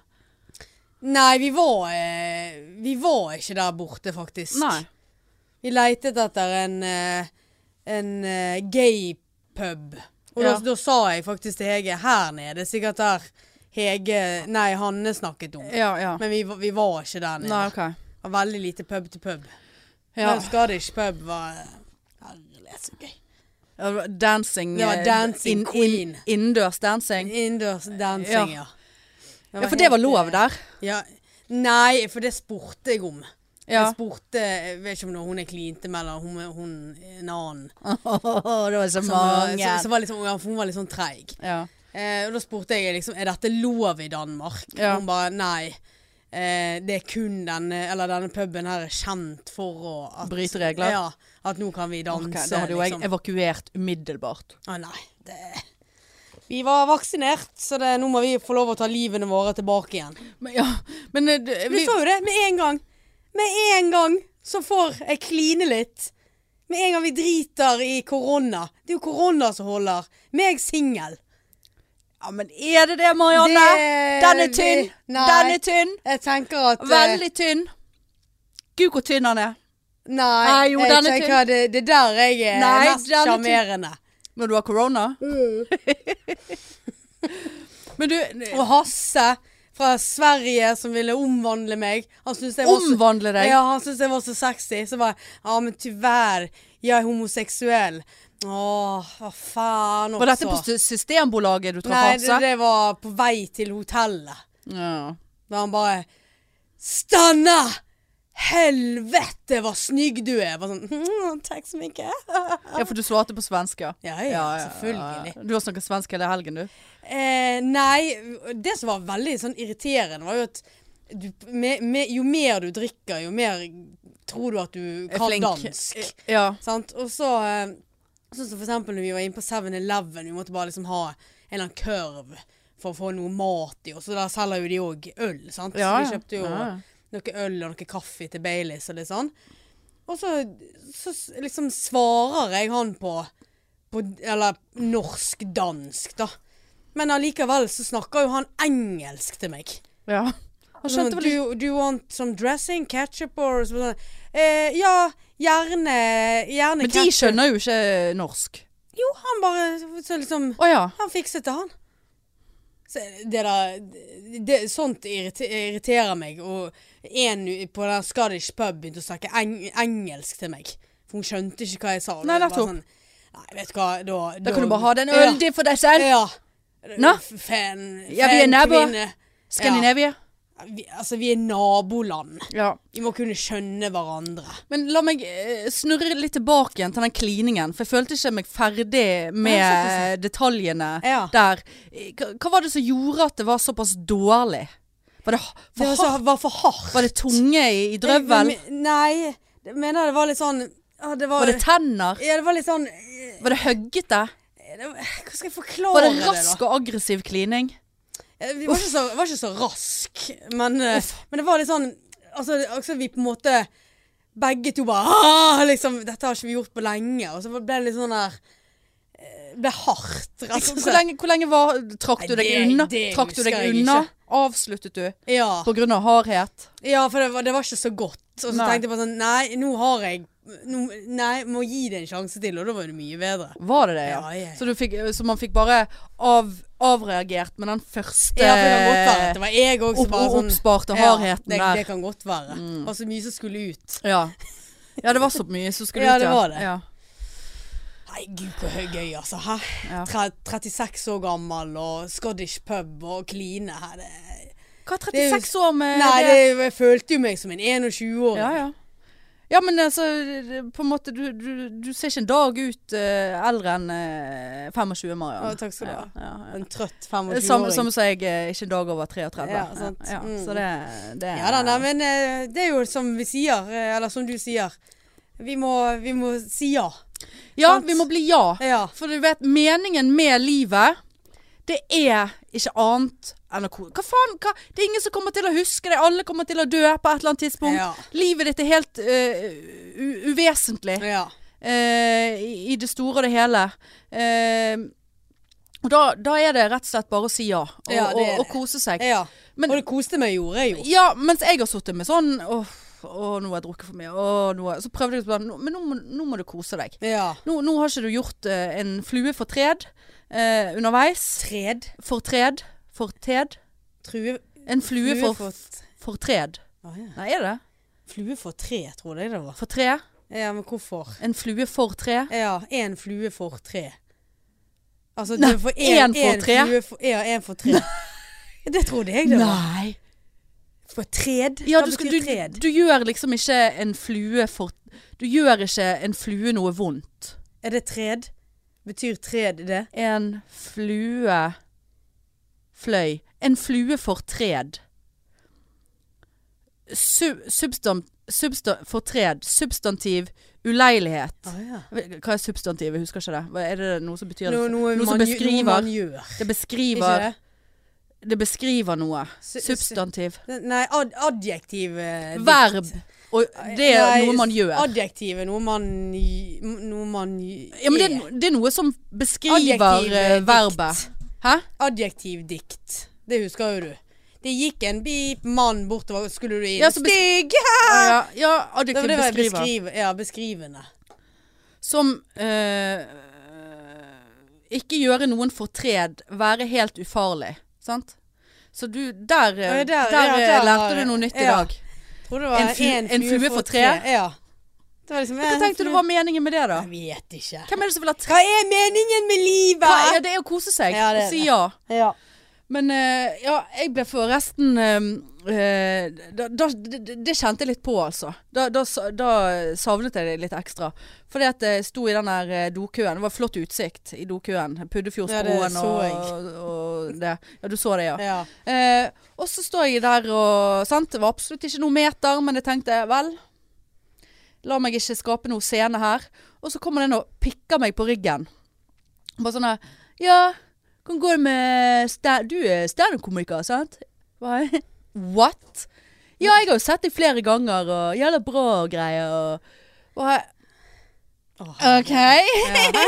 S2: Nei, vi var, eh, vi var ikke der borte, faktisk.
S1: Nei.
S2: Vi leitet etter en, eh, en eh, gay pub. Og
S1: Ja.
S2: da, da sa jeg faktisk til Hege her nede, sikkert der Hege Nei, Hanne snakket om.
S1: Ja, ja.
S2: Men vi, var- vi var ikke der nede.
S1: Nei, ok.
S2: Det var veldig lite pub til pub.
S1: Ja.
S2: Men Scottish pub var Herlig, så gøy.
S1: Ja, det var Dancing.
S2: Det var
S1: eh,
S2: dancing queen.
S1: innendørs dancing.
S2: Innendørs
S1: Ja.
S2: dancing, ja.
S1: Ja, for det var
S2: helt, eh,
S1: lov der.
S2: Ja. Nei, for det spurte jeg om.
S1: Ja.
S2: Jeg spurte Jeg vet ikke om når hun jeg klinte med, eller hun, hun en annen.
S1: det var eh, så
S2: Som var, som, som var litt sånn- ja, for hun var litt sånn treig.
S1: Ja.
S2: Eh, og da spurte jeg liksom, er dette lov i Danmark?
S1: Ja.
S2: Hun bare, nei. Eh, det er kun denne, eller denne puben her er kjent for å... At,
S1: Bryte regler?
S2: Ja, at nå kan vi danse,
S1: Ok, da hadde jo jeg
S2: liksom.
S1: evakuert umiddelbart.
S2: Å nei, det... Vi var vaksinert, så det, nå må vi få lov å ta livene våre tilbake igjen.
S1: Men, ja. Men eh, det-
S2: Men
S1: vi,
S2: Du så jo det, med en gang. Med en gang så får jeg kline litt. Med en gang vi driter i korona. Det er jo korona som holder. Meg singel.
S1: ja, men er det det, Marianne?
S2: Det-
S1: Den er tynn!
S2: Nei.
S1: Den er tynn!
S2: Jeg tenker at eh,
S1: Veldig tynn. Gud, hvor tynn han er.
S2: Nei,
S1: Nei, jo,
S2: jeg
S1: den er
S2: tenker at det, det der jeg er
S1: Nei,
S2: mest
S1: den er tynn. Mm.
S2: sjarmerende.
S1: Når du har korona. Men du,
S2: Og Hasse fra Sverige som ville omvandle meg. Han syntes jeg var så,
S1: omvandle deg.
S2: ja, han syntes jeg var så sexy. Så bare Ja, men tyvärr, jeg er homoseksuell. Åh, hva faen også.
S1: Var dette på sy- Systembolaget du traff
S2: Nei, det,
S1: Hasse?
S2: det var på vei til hotellet.
S1: Ja.
S2: Da han bare Stanna! Helvete, hva snygg du er! Jeg Bare sånn «Mm, Takk så mye.
S1: ja, for du svarte på svensk, ja.
S2: Ja, ja, selvfølgelig.
S1: Du har snakket svensk hele helgen, du.
S2: Eh, nei, det som var veldig sånn irriterende, var jo at du, med, med, jo mer du drikker, jo mer tror du at du
S1: Er
S2: kan
S1: flink. Eh,
S2: dansk.
S1: Ja.
S2: Sant? Og så eh, Sånn som for eksempel når vi var inne på 7-Eleven, vi måtte bare liksom ha en eller annen kurv for å få noe mat i, og så der selger jo de òg øl, sant.
S1: Ja,
S2: så
S1: ja.
S2: vi kjøpte jo
S1: Ja.
S2: noe øl og noe kaffe til Baileys og litt sånn. Og så, så s- liksom svarer jeg han på, på Eller norsk-dansk, da. Men allikevel så snakker jo han engelsk til meg.
S1: ja. Han
S2: Sånn,
S1: skjønte vel ikke
S2: do, do you want some dressing, ketchup or sånn? Eh, ja, gjerne,
S1: Men de
S2: gjerne ketchup.
S1: skjønner jo ikke eh, norsk.
S2: Jo, han bare så liksom
S1: Å ja.
S2: Han fikset det, han. Så det der det, Sånt irrite- irriterer meg. Og en u- på den Scottish pub begynte å snakke eng engelsk til meg. For hun skjønte ikke hva jeg sa. og
S1: Nei,
S2: det var
S1: nettopp.
S2: Sånn, Nei, vet du hva, da
S1: Da kan du bare ha den ølen din for deg selv.
S2: Ja.
S1: Nå?
S2: F- Fan,
S1: Ja, vi er
S2: fan
S1: naboer.
S2: kvinne.
S1: Skandinavia.
S2: Vi, altså, vi er naboland.
S1: Ja.
S2: Vi må kunne skjønne hverandre.
S1: Men la meg eh, snurre litt tilbake igjen til den kliningen, for jeg følte ikke meg ferdig med
S2: Nei,
S1: detaljene
S2: Ja.
S1: der. Eh, Hva hva var det som gjorde at det var såpass dårlig? Var det, ha-
S2: Det
S1: for
S2: var,
S1: hardt?
S2: så, var for hardt.
S1: altså, Var det tunge i, i drøvel?
S2: Jeg- Nei, jeg mener det var litt sånn ja, det var,
S1: Var det tenner?
S2: Ja, det var litt sånn eh,
S1: Var det høggete?
S2: det var, Hva skal jeg forklare
S1: Var det
S2: da?
S1: rask og aggressiv klining?
S2: Eh, Vi var ikke så, var ikke så rask, men, eh, men det var litt sånn Altså, det- altså vi på en måte Begge to bare «Ah!» liksom, Dette har ikke vi gjort på lenge. Og så ble det litt sånn der eh, Ble hardt, rett og
S1: Hvor
S2: slett.
S1: lenge, hvor lenge var, trakk
S2: Nei,
S1: du deg
S2: det-
S1: unna?
S2: det
S1: Trakk du
S2: husker
S1: deg
S2: jeg
S1: unna?
S2: ikke.
S1: Avsluttet du?
S2: Ja,
S1: På grunn av hardhet?
S2: ja for det var, det var ikke så godt. Og så
S1: Nei.
S2: tenkte jeg bare sånn Nei, nå har jeg nå, Nei, må gi det en sjanse til. Og da var det mye bedre.
S1: Var det det, ja?
S2: Ja, ja, ja.
S1: Så, du fikk, så man fikk bare av, avreagert med den første
S2: Ja, for det kan godt være at det var jeg òg som
S1: opp,
S2: bare sånn
S1: oppsparte
S2: Ja,
S1: hardheten
S2: det,
S1: der. Mm.
S2: Det kan godt være. Og så mye som skulle ut.
S1: Ja. ja, det var så mye som skulle
S2: Ja,
S1: ut.
S2: det var det.
S1: Ja.
S2: Nei, gud, hvor høy gøy, altså. Hæ?
S1: Ja.
S2: Tre, 36 år gammel og Scottish pub og kline her. Det,
S1: Hva er
S2: Det er jo-
S1: 36 år med
S2: nei,
S1: det?
S2: det, jeg følte jo meg som en 21-åring.
S1: Ja, ja. ja, men altså det- På en måte, du, du, du ser ikke en dag ut eh, eldre enn eh, 25, Mariann.
S2: Å, takk skal du ha.
S1: Ja, ja, ja.
S2: En trøtt
S1: Det er Samme
S2: 25-åring.
S1: som sier jeg eh, ikke en dag over 33.
S2: Ja, sant.
S1: Ja,
S2: Mm.
S1: Så det, det
S2: Ja da, nei, men eh, det er jo som vi sier, eh, eller som du sier. Vi må, vi må si ja.
S1: ja,
S2: sant.
S1: vi må bli ja.
S2: Ja.
S1: For du vet, meningen med livet, det er ikke annet enn å ko- Hva faen? Hva? Det er ingen som kommer til å huske det. Alle kommer til å dø på et eller annet tidspunkt.
S2: Ja.
S1: Livet ditt er helt eh, u uvesentlig
S2: ja.
S1: eh, i i det store og det hele. Eh, og da, da er det rett og slett bare å si ja, og,
S2: Ja, det er
S1: og, og
S2: det.
S1: kose seg.
S2: ja.
S1: Men-
S2: og det koste meg gjorde jeg jo.
S1: Ja, mens jeg har sittet med sånn Åh, åh, nå har jeg drukket for mye. Åh, nå har jeg-" Så prøvde jeg å bare, "Nå- Men nå må, nå må du kose deg.
S2: Ja.
S1: Nå, nå har ikke du gjort eh, en flue fortred eh, underveis.
S2: Tred.
S1: Fortred. Fortred.
S2: True.
S1: En flue, for,
S2: Flue for,
S1: fortred.
S2: Å, ja.
S1: Nei, er det det?
S2: Flue for tre, tror jeg det var.
S1: For tre.
S2: Ja, men hvorfor?
S1: En flue for tre.
S2: Ja, én flue for tre. Altså,
S1: Nei,
S2: du får
S1: én
S2: én
S1: for
S2: én
S1: tre?
S2: flue For, ja, én for tre. Det trodde jeg det var.
S1: Nei.
S2: For tred?
S1: Ja,
S2: Hva
S1: du, skal,
S2: betyr
S1: du,
S2: tred?
S1: du gjør liksom ikke en flue for Du gjør ikke en flue noe vondt.
S2: Er det tred? Betyr tred det?
S1: En flue fløy. En flue fortred. Sub, substan, substan, fortred. Substantiv uleilighet.
S2: ja.
S1: Hva er substantiv? Jeg husker ikke det. Hva- Er det noe som betyr
S2: Noe, noe,
S1: noe som
S2: man,
S1: beskriver.
S2: beskriver. noe man gjør.
S1: Det
S2: Ikke
S1: beskriver,
S2: det?
S1: det beskriver noe.
S2: Su-
S1: Substantiv.
S2: Nei, ad, adjektiv eh, dikt.
S1: Verb. Og det er
S2: Nei,
S1: noe man gjør.
S2: Adjektiv er noe man gj- Noe man gj-
S1: Ja, men det,
S2: er.
S1: er- det er noe som beskriver
S2: Adjektiv, eh,
S1: eh,
S2: dikt.
S1: verbet. Hæ?
S2: Adjektiv dikt. Det husker jo du. Det gikk en beep mann bortover, skulle du inn.
S1: Ja, så bes-
S2: Stig!
S1: Ja, ja
S2: Ah! Det var
S1: adjektiv
S2: det var
S1: beskriver.
S2: beskriv, ja, beskrivende.
S1: Som eh, ikke gjøre noen fortred, være helt ufarlig. Sant? Så du, der, eh,
S2: Ja, der-
S1: der,
S2: ja,
S1: eh,
S2: der-
S1: lærte du noe nytt i
S2: ja.
S1: dag.
S2: Tror det var
S1: En fu- en flue for tre?
S2: Ja. Det var liksom,
S1: Hva tenkte du var meningen med det, da?
S2: Jeg vet ikke.
S1: Hvem er det som vil ha tre?
S2: Hva er meningen med livet?
S1: Hva er det er å kose seg.
S2: Ja, det er
S1: og si
S2: det.
S1: ja.
S2: Ja.
S1: Men eh, ja, jeg ble forresten eh, eh, da, da, det, det kjente jeg litt på, altså. Da, da, sa- da savnet jeg det litt ekstra. Fordi at jeg sto i den der eh, dokøen. Det var flott utsikt i dokøen.
S2: Ja, det
S1: Puddefjordsbroen
S2: så
S1: og, og det. Ja, du så det, ja.
S2: ja.
S1: Eh, og så står jeg der og sant? Det var absolutt ikke noen meter, men jeg tenkte vel La meg ikke skape noe scene her. Og så kommer den og pikker meg på ryggen. Bare sånn her Ja, hvordan går det med sta- Du er standup-komiker, sant? Bare, What? Ja, jeg har jo sett deg flere ganger, og jævla bra og greier. Og bare,
S2: Åh,
S1: OK. ja,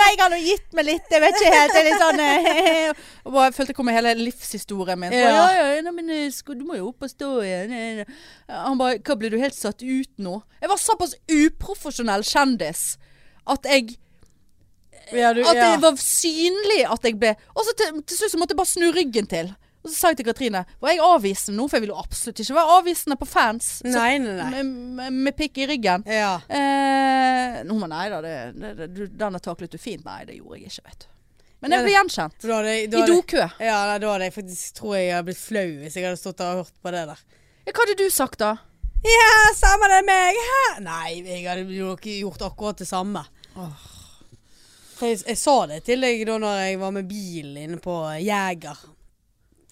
S1: nei, jeg har nå gitt meg litt. Jeg vet ikke helt. Jeg er litt sånn eh, og bare følte jeg kom med hele livshistorien min. Så,
S2: Ja.
S1: ja, ja, nei, men eh, sko- du må jo opp og stå igjen. eh, eh.» Han bare Hva, blir du helt satt ut nå? Jeg var såpass uprofesjonell kjendis at jeg
S2: Ja, du,
S1: At
S2: ja.
S1: det var synlig at jeg ble Og så til, til slutt så måtte jeg bare snu ryggen til. Og så sa jeg til Katrine Var jeg avvisende nå? For jeg ville jo absolutt ikke være avvisende på fans. Så,
S2: Nei, nei, nei.
S1: med, med- med pikk i ryggen.
S2: Ja.
S1: Eh, nå, men nei da, det, det, det, du- den har taklet du fint. Nei, det gjorde jeg ikke, vet du. Men jeg
S2: Ja,
S1: ble gjenkjent.
S2: For Da hadde, jeg- da
S1: I
S2: hadde,
S1: dokø.
S2: ja, nei, da hadde jeg faktisk, tror jeg jeg hadde blitt flau hvis jeg hadde stått der og hørt på det der.
S1: Ja, hva hadde du sagt da?
S2: Ja, samme det meg! Hæ? Nei, jeg hadde jo ikke gjort akkurat det samme. For Jeg, jeg sa det til deg da når jeg var med bilen inne på Jæger.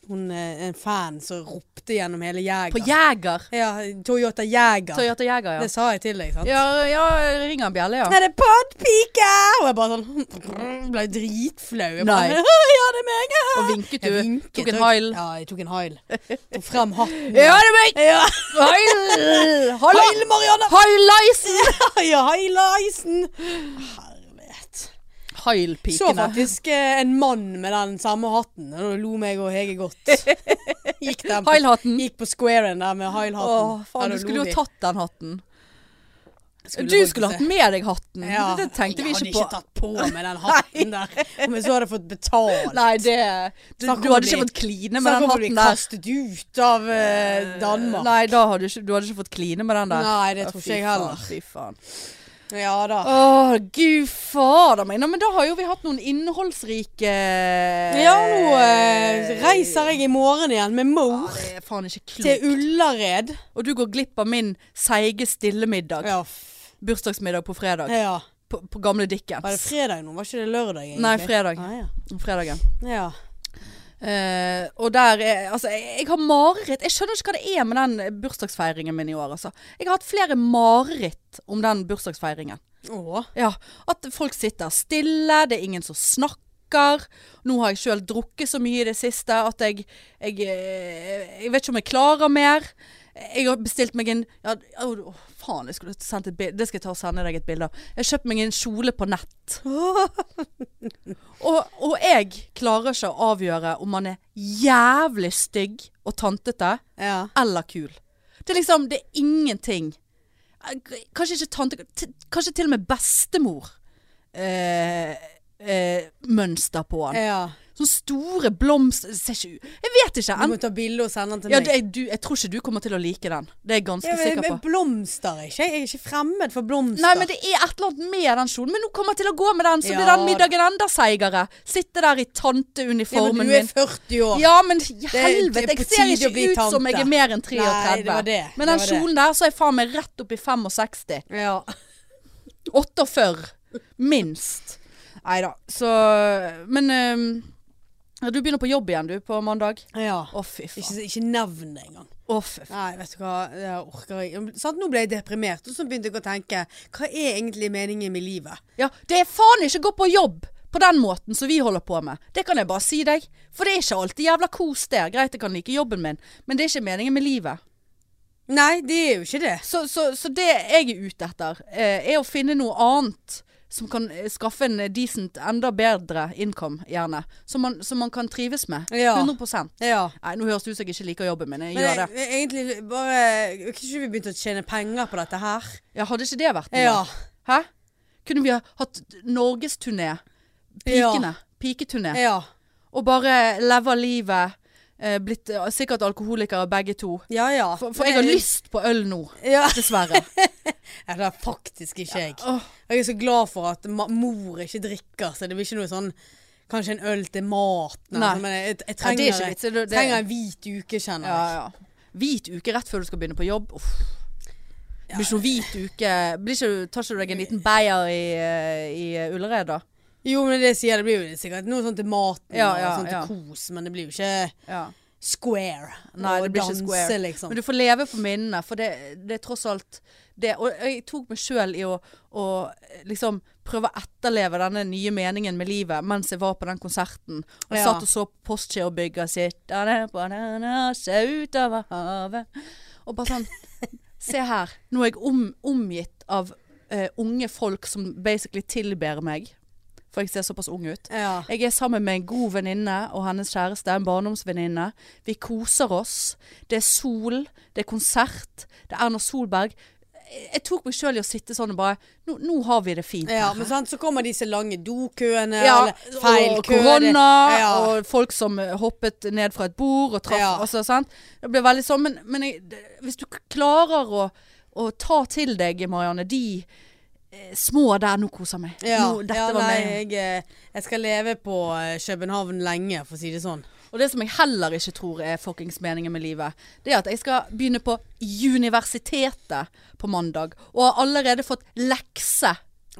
S2: Hun eh, en fan som ropte gjennom hele Jæger.
S1: På Jeger.
S2: ja, Toyota Jæger.
S1: Toyota Jeger, ja.
S2: Det sa jeg til deg, sant? Sånn
S1: Ja, ja ringer en bjelle, ja.
S2: Er det podpike? Og jeg bare sånn Ble dritflau. Jeg bare,
S1: Nei.
S2: Ja, det er meg!
S1: Og vinket
S2: Jeg
S1: du.
S2: vinket,
S1: tok en
S2: og-
S1: heil.
S2: Ja, jeg tok en heil. Tok frem hatten.
S1: Ja, det er meg!
S2: Ja.
S1: Heil!
S2: Heil, Marianne!
S1: Heilleisen!
S2: Ja, heil Eisen! Herlighet. Så
S1: Heilpikene.
S2: faktisk eh, en mann med den samme hatten, og da lo meg og Hege godt. Gikk, den på,
S1: Heilhatten.
S2: gikk på squaren der med heil-hatten.
S1: Åh, faen, du skulle jo tatt den hatten.
S2: Skulle
S1: Du
S2: folk
S1: skulle
S2: se.
S1: hatt med deg hatten.
S2: Ja.
S1: Det tenkte vi ikke
S2: Jeg hadde ikke
S1: på.
S2: tatt på meg den hatten der. Om jeg så hadde fått betalt.
S1: Nei, det Du,
S2: Snakk om
S1: du
S2: å
S1: hadde
S2: bli-
S1: ikke fått kline med
S2: så
S1: den
S2: kommer vi
S1: hatten der.
S2: kastet ut av eh, Danmark.
S1: Nei, da hadde du, ikke, du hadde ikke fått kline med den der.
S2: Nei, det tror
S1: Å,
S2: ikke jeg
S1: fy faen,
S2: heller.
S1: Fy faen.
S2: Ja da.
S1: Å, gud fader meg. Nei, men da har jo vi hatt noen innholdsrike eh,
S2: Ja, nå eh, reiser jeg i morgen igjen med mor
S1: Det er faen ikke
S2: til
S1: klokt.
S2: Ullared.
S1: Og du går glipp av min seige stillemiddag.
S2: Ja, f-
S1: Bursdagsmiddag på fredag.
S2: ja.
S1: På, på gamle
S2: Var det
S1: Dickens.
S2: fredag nå? Var ikke det lørdag? egentlig?
S1: Nei, fredag.
S2: Ah, ja.
S1: Fredagen.
S2: ja.
S1: Eh, og der er Altså, jeg, jeg har mareritt. Jeg skjønner ikke hva det er med den bursdagsfeiringen min i år, altså. Jeg har hatt flere mareritt om den bursdagsfeiringen.
S2: Å.
S1: Ja, at folk sitter stille, det er ingen som snakker. Nå har jeg sjøl drukket så mye i det siste at jeg, jeg eh, Jeg vet ikke om jeg klarer mer. Jeg har bestilt meg en ja, Å, å, faen, jeg skulle sendt et bilde. Det skal jeg ta og sende deg et bilde av. Jeg har kjøpt meg en kjole på nett. Og, og jeg klarer ikke å avgjøre om man er jævlig stygg og tantete
S2: ja.
S1: eller kul. Det er liksom, det er ingenting. Eh, Kanskje ikke tante, t- kanskje til og med bestemor eh, eh, mønster på han.
S2: ja.
S1: Sånne store blomster, det ser ikke ut. Jeg vet ikke.
S2: Du
S1: En,
S2: må ta bilde og sende den til
S1: ja,
S2: meg.
S1: det, du, jeg tror ikke du kommer til å like den. Det er jeg ganske
S2: Ja, men-
S1: sikker
S2: men
S1: på.
S2: blomster ikke? Jeg er ikke fremmed for blomster.
S1: Nei, men det er et eller annet med den kjolen. Men nå kommer jeg til å gå med den, så
S2: Ja,
S1: blir den middagen enda seigere. Sitte der i
S2: Ja, men
S1: tanteuniformen
S2: du er
S1: min.
S2: 40 år.
S1: Ja, men
S2: er
S1: helvete,
S2: på
S1: jeg ser
S2: tide å bli
S1: ikke ut som jeg
S2: tante.
S1: er mer enn 33.
S2: Nei, det var det.
S1: Men den
S2: Det var det.
S1: kjolen der, så er jeg faen meg rett opp i 65.
S2: Ja.
S1: 48. Minst. Nei da, så Men øhm, ja, du begynner på jobb igjen, du, på mandag?
S2: ja.
S1: Å, fy faen.
S2: Ikke, ikke nevn det engang.
S1: Å, fy faen.
S2: Nei, vet du hva, det orker jeg sant? Nå ble jeg deprimert, og så begynte jeg å tenke Hva er egentlig meningen med livet?
S1: Ja, det er faen ikke å gå på jobb på den måten som vi holder på med. Det kan jeg bare si deg. For det er ikke alltid jævla kos der. Greit, jeg kan like jobben min, men det er ikke meningen med livet.
S2: Nei, det er jo ikke det.
S1: Så, så, så det jeg er ute etter, eh, er å finne noe annet som kan eh, skaffe en decent, enda bedre income, gjerne. Som man, som man kan trives med.
S2: Ja.
S1: 100
S2: Ja.
S1: Nei, nå høres det ut som jeg ikke liker jobben min. Jeg
S2: Men
S1: gjør det.
S2: jeg, egentlig bare Kunne ikke vi begynt å tjene penger på dette her?
S1: Ja, hadde ikke det vært noe?
S2: Ja.
S1: Hæ? Kunne vi ha hatt norgesturné? Pikene. Piketurné.
S2: Ja.
S1: og bare lever livet. Eh, blitt eh, sikkert alkoholikere begge to.
S2: Ja ja.
S1: For, for jeg har lyst på øl nå,
S2: ja.
S1: dessverre.
S2: ja, det er faktisk ikke jeg.
S1: Åh,
S2: Jeg er så glad for at ma mor ikke drikker, så det blir ikke noe sånn Kanskje en øl til maten. eller
S1: Nei.
S2: sånn, Men jeg, jeg, jeg
S1: nei,
S2: trenger,
S1: det er ikke vits. Det,
S2: jeg
S1: det,
S2: trenger en hvit uke, kjenner
S1: ja,
S2: jeg.
S1: ja. Hvit uke rett før du skal begynne på jobb. Uff.
S2: Ja.
S1: Blir ikke noe hvit uke Blir ikke, Tar ikke du deg en liten beyer i, eh, i Ullared, da?
S2: Jo, men det sier jeg, det blir jo sikkert noe sånn til maten
S1: Ja,
S2: og
S1: ja,
S2: sånn
S1: ja.
S2: til kos, men det blir jo ikke
S1: Ja.
S2: square.
S1: Nei,
S2: å
S1: det blir ikke
S2: danse,
S1: square.
S2: liksom.
S1: Men du får leve for minnene, for det, det er tross alt det. Og jeg tok meg sjøl i å, å liksom prøve å etterleve denne nye meningen med livet mens jeg var på den konserten. Og
S2: Ja.
S1: satt og så på Postgirobygget sittende på denne se utover havet. Og bare sånn Se her. Nå er jeg om, omgitt av eh, unge folk som basically tilber meg. For jeg ser såpass ung ut.
S2: Ja.
S1: Jeg er sammen med en god venninne og hennes kjæreste, en barndomsvenninne. Vi koser oss. Det er sol, det er konsert, det er Erna Solberg. Jeg tok meg sjøl i å sitte sånn og bare Nå, nå har vi det fint.
S2: ja,
S1: her.
S2: men sant, så kommer disse lange dokøene,
S1: Ja,
S2: eller feil
S1: og
S2: kø.
S1: korona,
S2: det- ja.
S1: og folk som eh, hoppet ned fra et bord og traff
S2: Ja.
S1: altså, sant? Det ble veldig sånn, men, men jeg, det- hvis du k- klarer å, å ta til deg, Marianne, de eh, små der nå koser meg.
S2: ja,
S1: Nå, dette
S2: ja,
S1: var
S2: nei,
S1: meg.
S2: jeg, eh, jeg skal leve på eh, København lenge, for å si det sånn.
S1: Og det som jeg heller ikke tror er fuckings meningen med livet, det er at jeg skal begynne på universitetet på mandag, og har allerede fått lekse.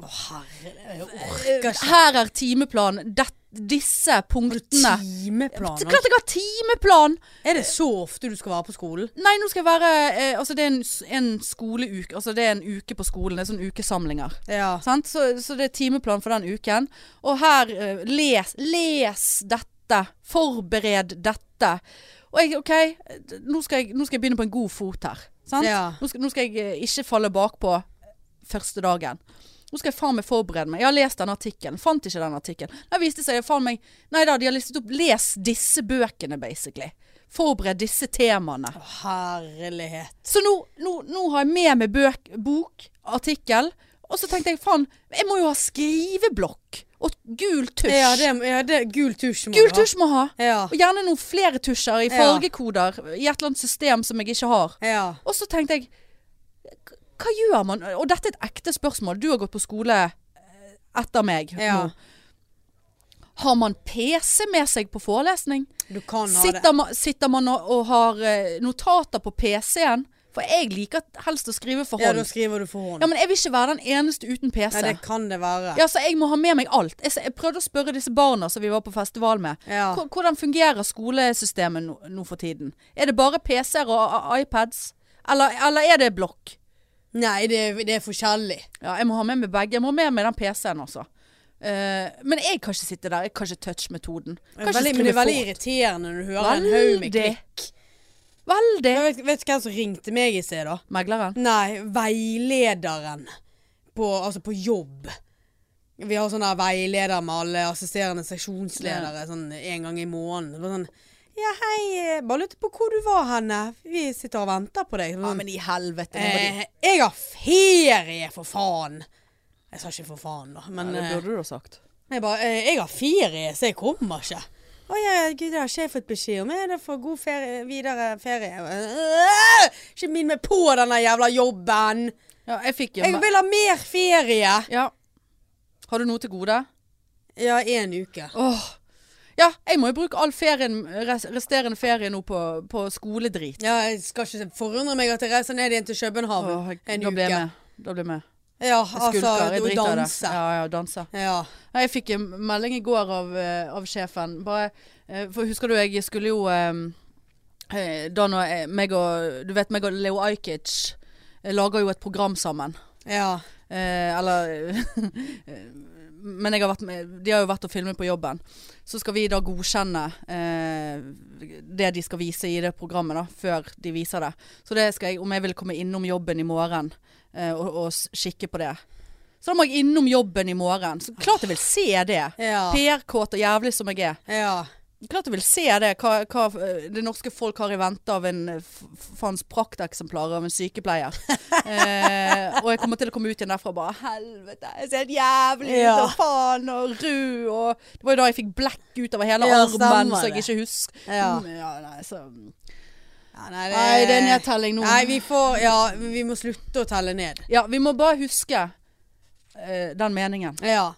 S2: Å, herre, jeg orker ikke.
S1: Her er timeplanen. Det- Disse punktene. Det er
S2: Timeplaner.
S1: klart jeg har timeplan!
S2: Er det så ofte du skal være på skolen?
S1: Nei, nå skal jeg være eh, Altså, det er en, s- en skoleuke. Altså, det er en uke på skolen. Det er sånn ukesamlinger.
S2: Ja.
S1: Sant? Så, så det er timeplan for den uken. Og her eh, les, les dette. Forbered dette. Og jeg, OK, nå skal jeg, nå skal jeg begynne på en god fot her. Sant?
S2: Ja.
S1: Nå, skal, nå skal jeg eh, ikke falle bakpå eh, første dagen. Nå skal jeg faen meg forberede meg. Jeg har lest den artikkelen. Fant ikke den artikkelen. Det viste seg faen meg Nei da, de har listet opp Les disse bøkene, basically. Forbered disse temaene.
S2: Å, herlighet.
S1: Så nå, nå, nå har jeg med meg bøk, bok, artikkel, og så tenkte jeg faen, jeg må jo ha skriveblokk og gul tusj.
S2: Ja, det, ja, det gul tusj må
S1: gul
S2: du ha.
S1: tusj må jeg ha.
S2: Ja.
S1: Og gjerne noen flere tusjer i
S2: Ja.
S1: fargekoder i et eller annet system som jeg ikke har.
S2: ja.
S1: Og så tenkte jeg k- Hva gjør man? Og dette er et ekte spørsmål. Du har gått på skole eh, etter meg
S2: Ja.
S1: nå. Har man PC med seg på forelesning?
S2: Du kan ha det.
S1: Sitter man, sitter man og, og har eh, notater på PC-en? For jeg liker helst å skrive for
S2: Ja, da
S1: hånd.
S2: skriver du for hånd.
S1: Ja, men jeg vil ikke være den eneste uten PC.
S2: Ja, det kan det være.
S1: Ja, så jeg må ha med meg alt. Jeg, s- jeg prøvde å spørre disse barna som vi var på festival med.
S2: Ja.
S1: Hvor- Hvordan fungerer skolesystemet nå, nå for tiden? Er det bare PC-er og a- a- iPads? Eller, eller er det blokk?
S2: Nei, det, er- det er forskjellig.
S1: Ja, jeg må ha med meg begge. Jeg må ha med meg den PC-en også. Eh, men jeg kan ikke sitte der. Jeg kan ikke touch-metoden. Kan ikke
S2: Veldig, men det er
S1: skrive
S2: veldig
S1: fort.
S2: irriterende når du hører en haug med
S1: Veldig.
S2: klikk.
S1: Veldig.
S2: Jeg vet, vet du hvem som ringte meg i sted, da?
S1: Megleren.
S2: Nei, veilederen på, altså på jobb. Vi har sånn der veileder med alle assisterende seksjonsledere sånn en gang i måneden. Det var sånn Ja, hei, eh, bare lurte på hvor du var henne. Vi sitter og venter på deg.
S1: Ja,
S2: Sånn,
S1: men i helvete. nå må de-
S2: eh, jeg har ferie, for faen! Jeg sa ikke for faen, da, men
S1: Ja,
S2: eh,
S1: burde du ha sagt.
S2: jeg bare eh, Jeg har ferie, så jeg kommer ikke. Å ja, ja, gud, det har ikke jeg fått beskjed om. Er det for god ferie, videre ferie? Jeg bare, «Øh, Ikke minn meg på denne jævla jobben!
S1: Ja, jeg fikk jo
S2: Jeg vil ha mer ferie!
S1: ja. Har du noe til gode?
S2: Ja, én uke.
S1: Åh. Ja, jeg må jo bruke all ferien, res- resterende ferie nå på, på skoledrit.
S2: Ja, jeg skal ikke forundre meg at jeg reiser ned igjen til København
S1: Åh, jeg-
S2: en
S1: da blir
S2: uke.
S1: jeg med. Da blir jeg med.
S2: Ja,
S1: Jeg
S2: altså,
S1: skulker, jeg
S2: og
S1: driter i det.
S2: danse.
S1: Ja, ja, danse.
S2: Ja.
S1: Nei, Jeg fikk en melding i går av, eh, av sjefen. Bare, eh, for husker du, jeg skulle jo eh, eh, Da når jeg- meg og Du vet meg og Leo Ajkic eh, lager jo et program sammen.
S2: ja.
S1: Eh, eller eh, Men jeg har vært med, de har jo vært og filmet på jobben. Så skal vi da godkjenne eh, det de skal vise i det programmet, da, før de viser det. Så det skal jeg, om jeg vil komme innom jobben i morgen eh, og, og s- kikke på det. Så da må jeg innom jobben i morgen. Så klart jeg vil se det.
S2: Ja.
S1: PR-kåt og jævlig som jeg er.
S2: ja.
S1: Klart du vil se det, hva, hva eh, det norske folk har i vente av en eh, f- f- faens prakteksemplar av en sykepleier. eh, og jeg kommer til å komme ut igjen derfra og bare Helvete, jeg ser helt jævlig ut,
S2: Ja.
S1: og faen, og rød, og Det var jo da jeg fikk blekk utover hele
S2: Ja,
S1: armen,
S2: stemmer
S1: så jeg
S2: det.
S1: ikke husker.
S2: Ja.
S1: Mm, ja, nei, så...
S2: nei, det,
S1: nei, det er nedtelling nå.
S2: Nei, vi får Ja, vi må slutte å telle ned.
S1: Ja, vi må bare huske eh, den meningen.
S2: Ja.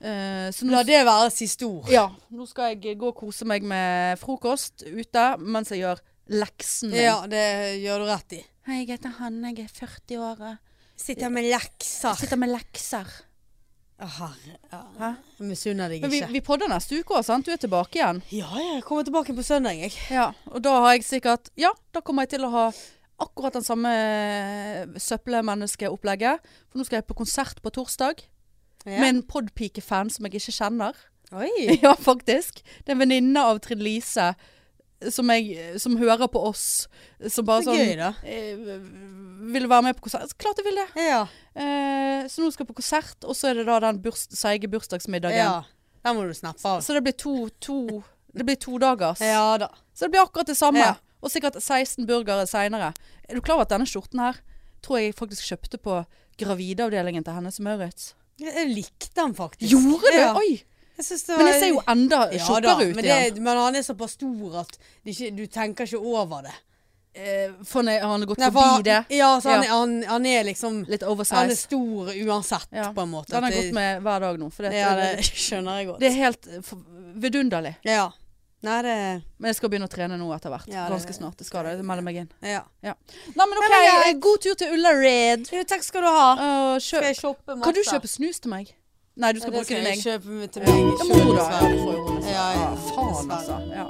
S1: Eh, så nå
S2: La det være siste ord.
S1: Ja, nå skal jeg gå og kose meg med frokost ute mens jeg gjør leksen min.
S2: Ja, det gjør du rett i.
S1: Hei, jeg heter Hanne, jeg er 40 år.
S2: Sitter med lekser.
S1: Sitter med lekser.
S2: Å, herre. Ja.
S1: Hæ?
S2: Jeg misunner deg
S1: Men vi,
S2: ikke.
S1: vi podder neste uke òg, sant? Du er tilbake igjen.
S2: Ja, jeg kommer tilbake på søndag, jeg.
S1: Ja, og da har jeg sikkert Ja, da kommer jeg til å ha akkurat den samme eh, søppelmenneskeopplegget. For nå skal jeg på konsert på torsdag
S2: Ja.
S1: med en podpike-fan som jeg ikke kjenner.
S2: Oi.
S1: Ja, faktisk. Det er en venninne av Trine Lise eh, som, jeg, som hører på oss. Som bare
S2: Så
S1: sånn
S2: gøy, da.
S1: eh, Vil du være med på konsert? Klart jeg vil det!
S2: Ja.
S1: Eh, så nå skal jeg på konsert, og så er det da den burs seige bursdagsmiddagen.
S2: ja. Den må du snappe av.
S1: Så det blir to, to Det blir to dagers.
S2: Ja da.
S1: Så det blir akkurat det samme.
S2: Ja.
S1: Og sikkert 16 burgere seinere. Er du klar over at denne skjorten her tror jeg faktisk kjøpte på gravideavdelingen til Hennes Maurits?
S2: Jeg jeg likte den faktisk.
S1: Gjorde du?
S2: Ja.
S1: Oi!
S2: Jeg synes det var...
S1: Men jeg ser jo enda
S2: Ja da,
S1: tjukkere ut
S2: men,
S1: igjen.
S2: det, men han er såpass stor at det ikke, du tenker ikke over det.
S1: Eh, For når han har gått
S2: Nei, for
S1: forbi
S2: han-
S1: det.
S2: Ja, så han,
S1: Ja.
S2: Han, han er liksom
S1: Litt
S2: Han er
S1: oversize.
S2: stor uansett,
S1: Ja,
S2: på en måte.
S1: Den har
S2: At
S1: jeg gått med hver dag nå. For det,
S2: Ja,
S1: det,
S2: det skjønner jeg godt.
S1: det er helt eh, for- vidunderlig.
S2: ja. Nei, det
S1: Men jeg skal begynne å trene nå etter hvert.
S2: Ja, det-
S1: Ganske snart. Det skal det. Jeg melder meg inn.
S2: Ja.
S1: Nei, men OK.
S2: Nei, men jeg-
S1: eh, God tur til Ullared.
S2: Jo, takk skal du ha.
S1: Og kjøp
S2: Skal jeg shoppe masse?
S1: Kan du kjøpe snus til meg? Nei, du skal
S2: sånn? det
S1: bruke
S2: skal
S1: din
S2: jeg
S1: egen.
S2: kjøpe med- til meg.
S1: Ja,
S2: selv,
S1: må da. Ja,
S2: dessverre.
S1: du får jo henne selv.
S2: Ja, ja,
S1: Ah, Faen,
S2: dessverre.
S1: altså. Ja.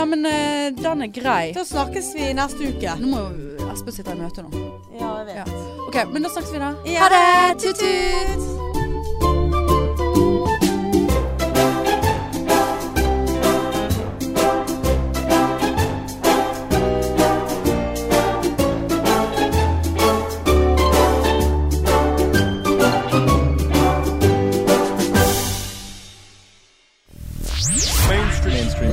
S1: Nei, men eh, den er grei.
S2: Da snakkes vi neste uke.
S1: Nå må jo Espen sitte i møte nå.
S2: Ja, jeg vet.
S1: Ja. OK, men da snakkes vi da.
S2: Ha det! Tut-tut!
S3: Mainstream.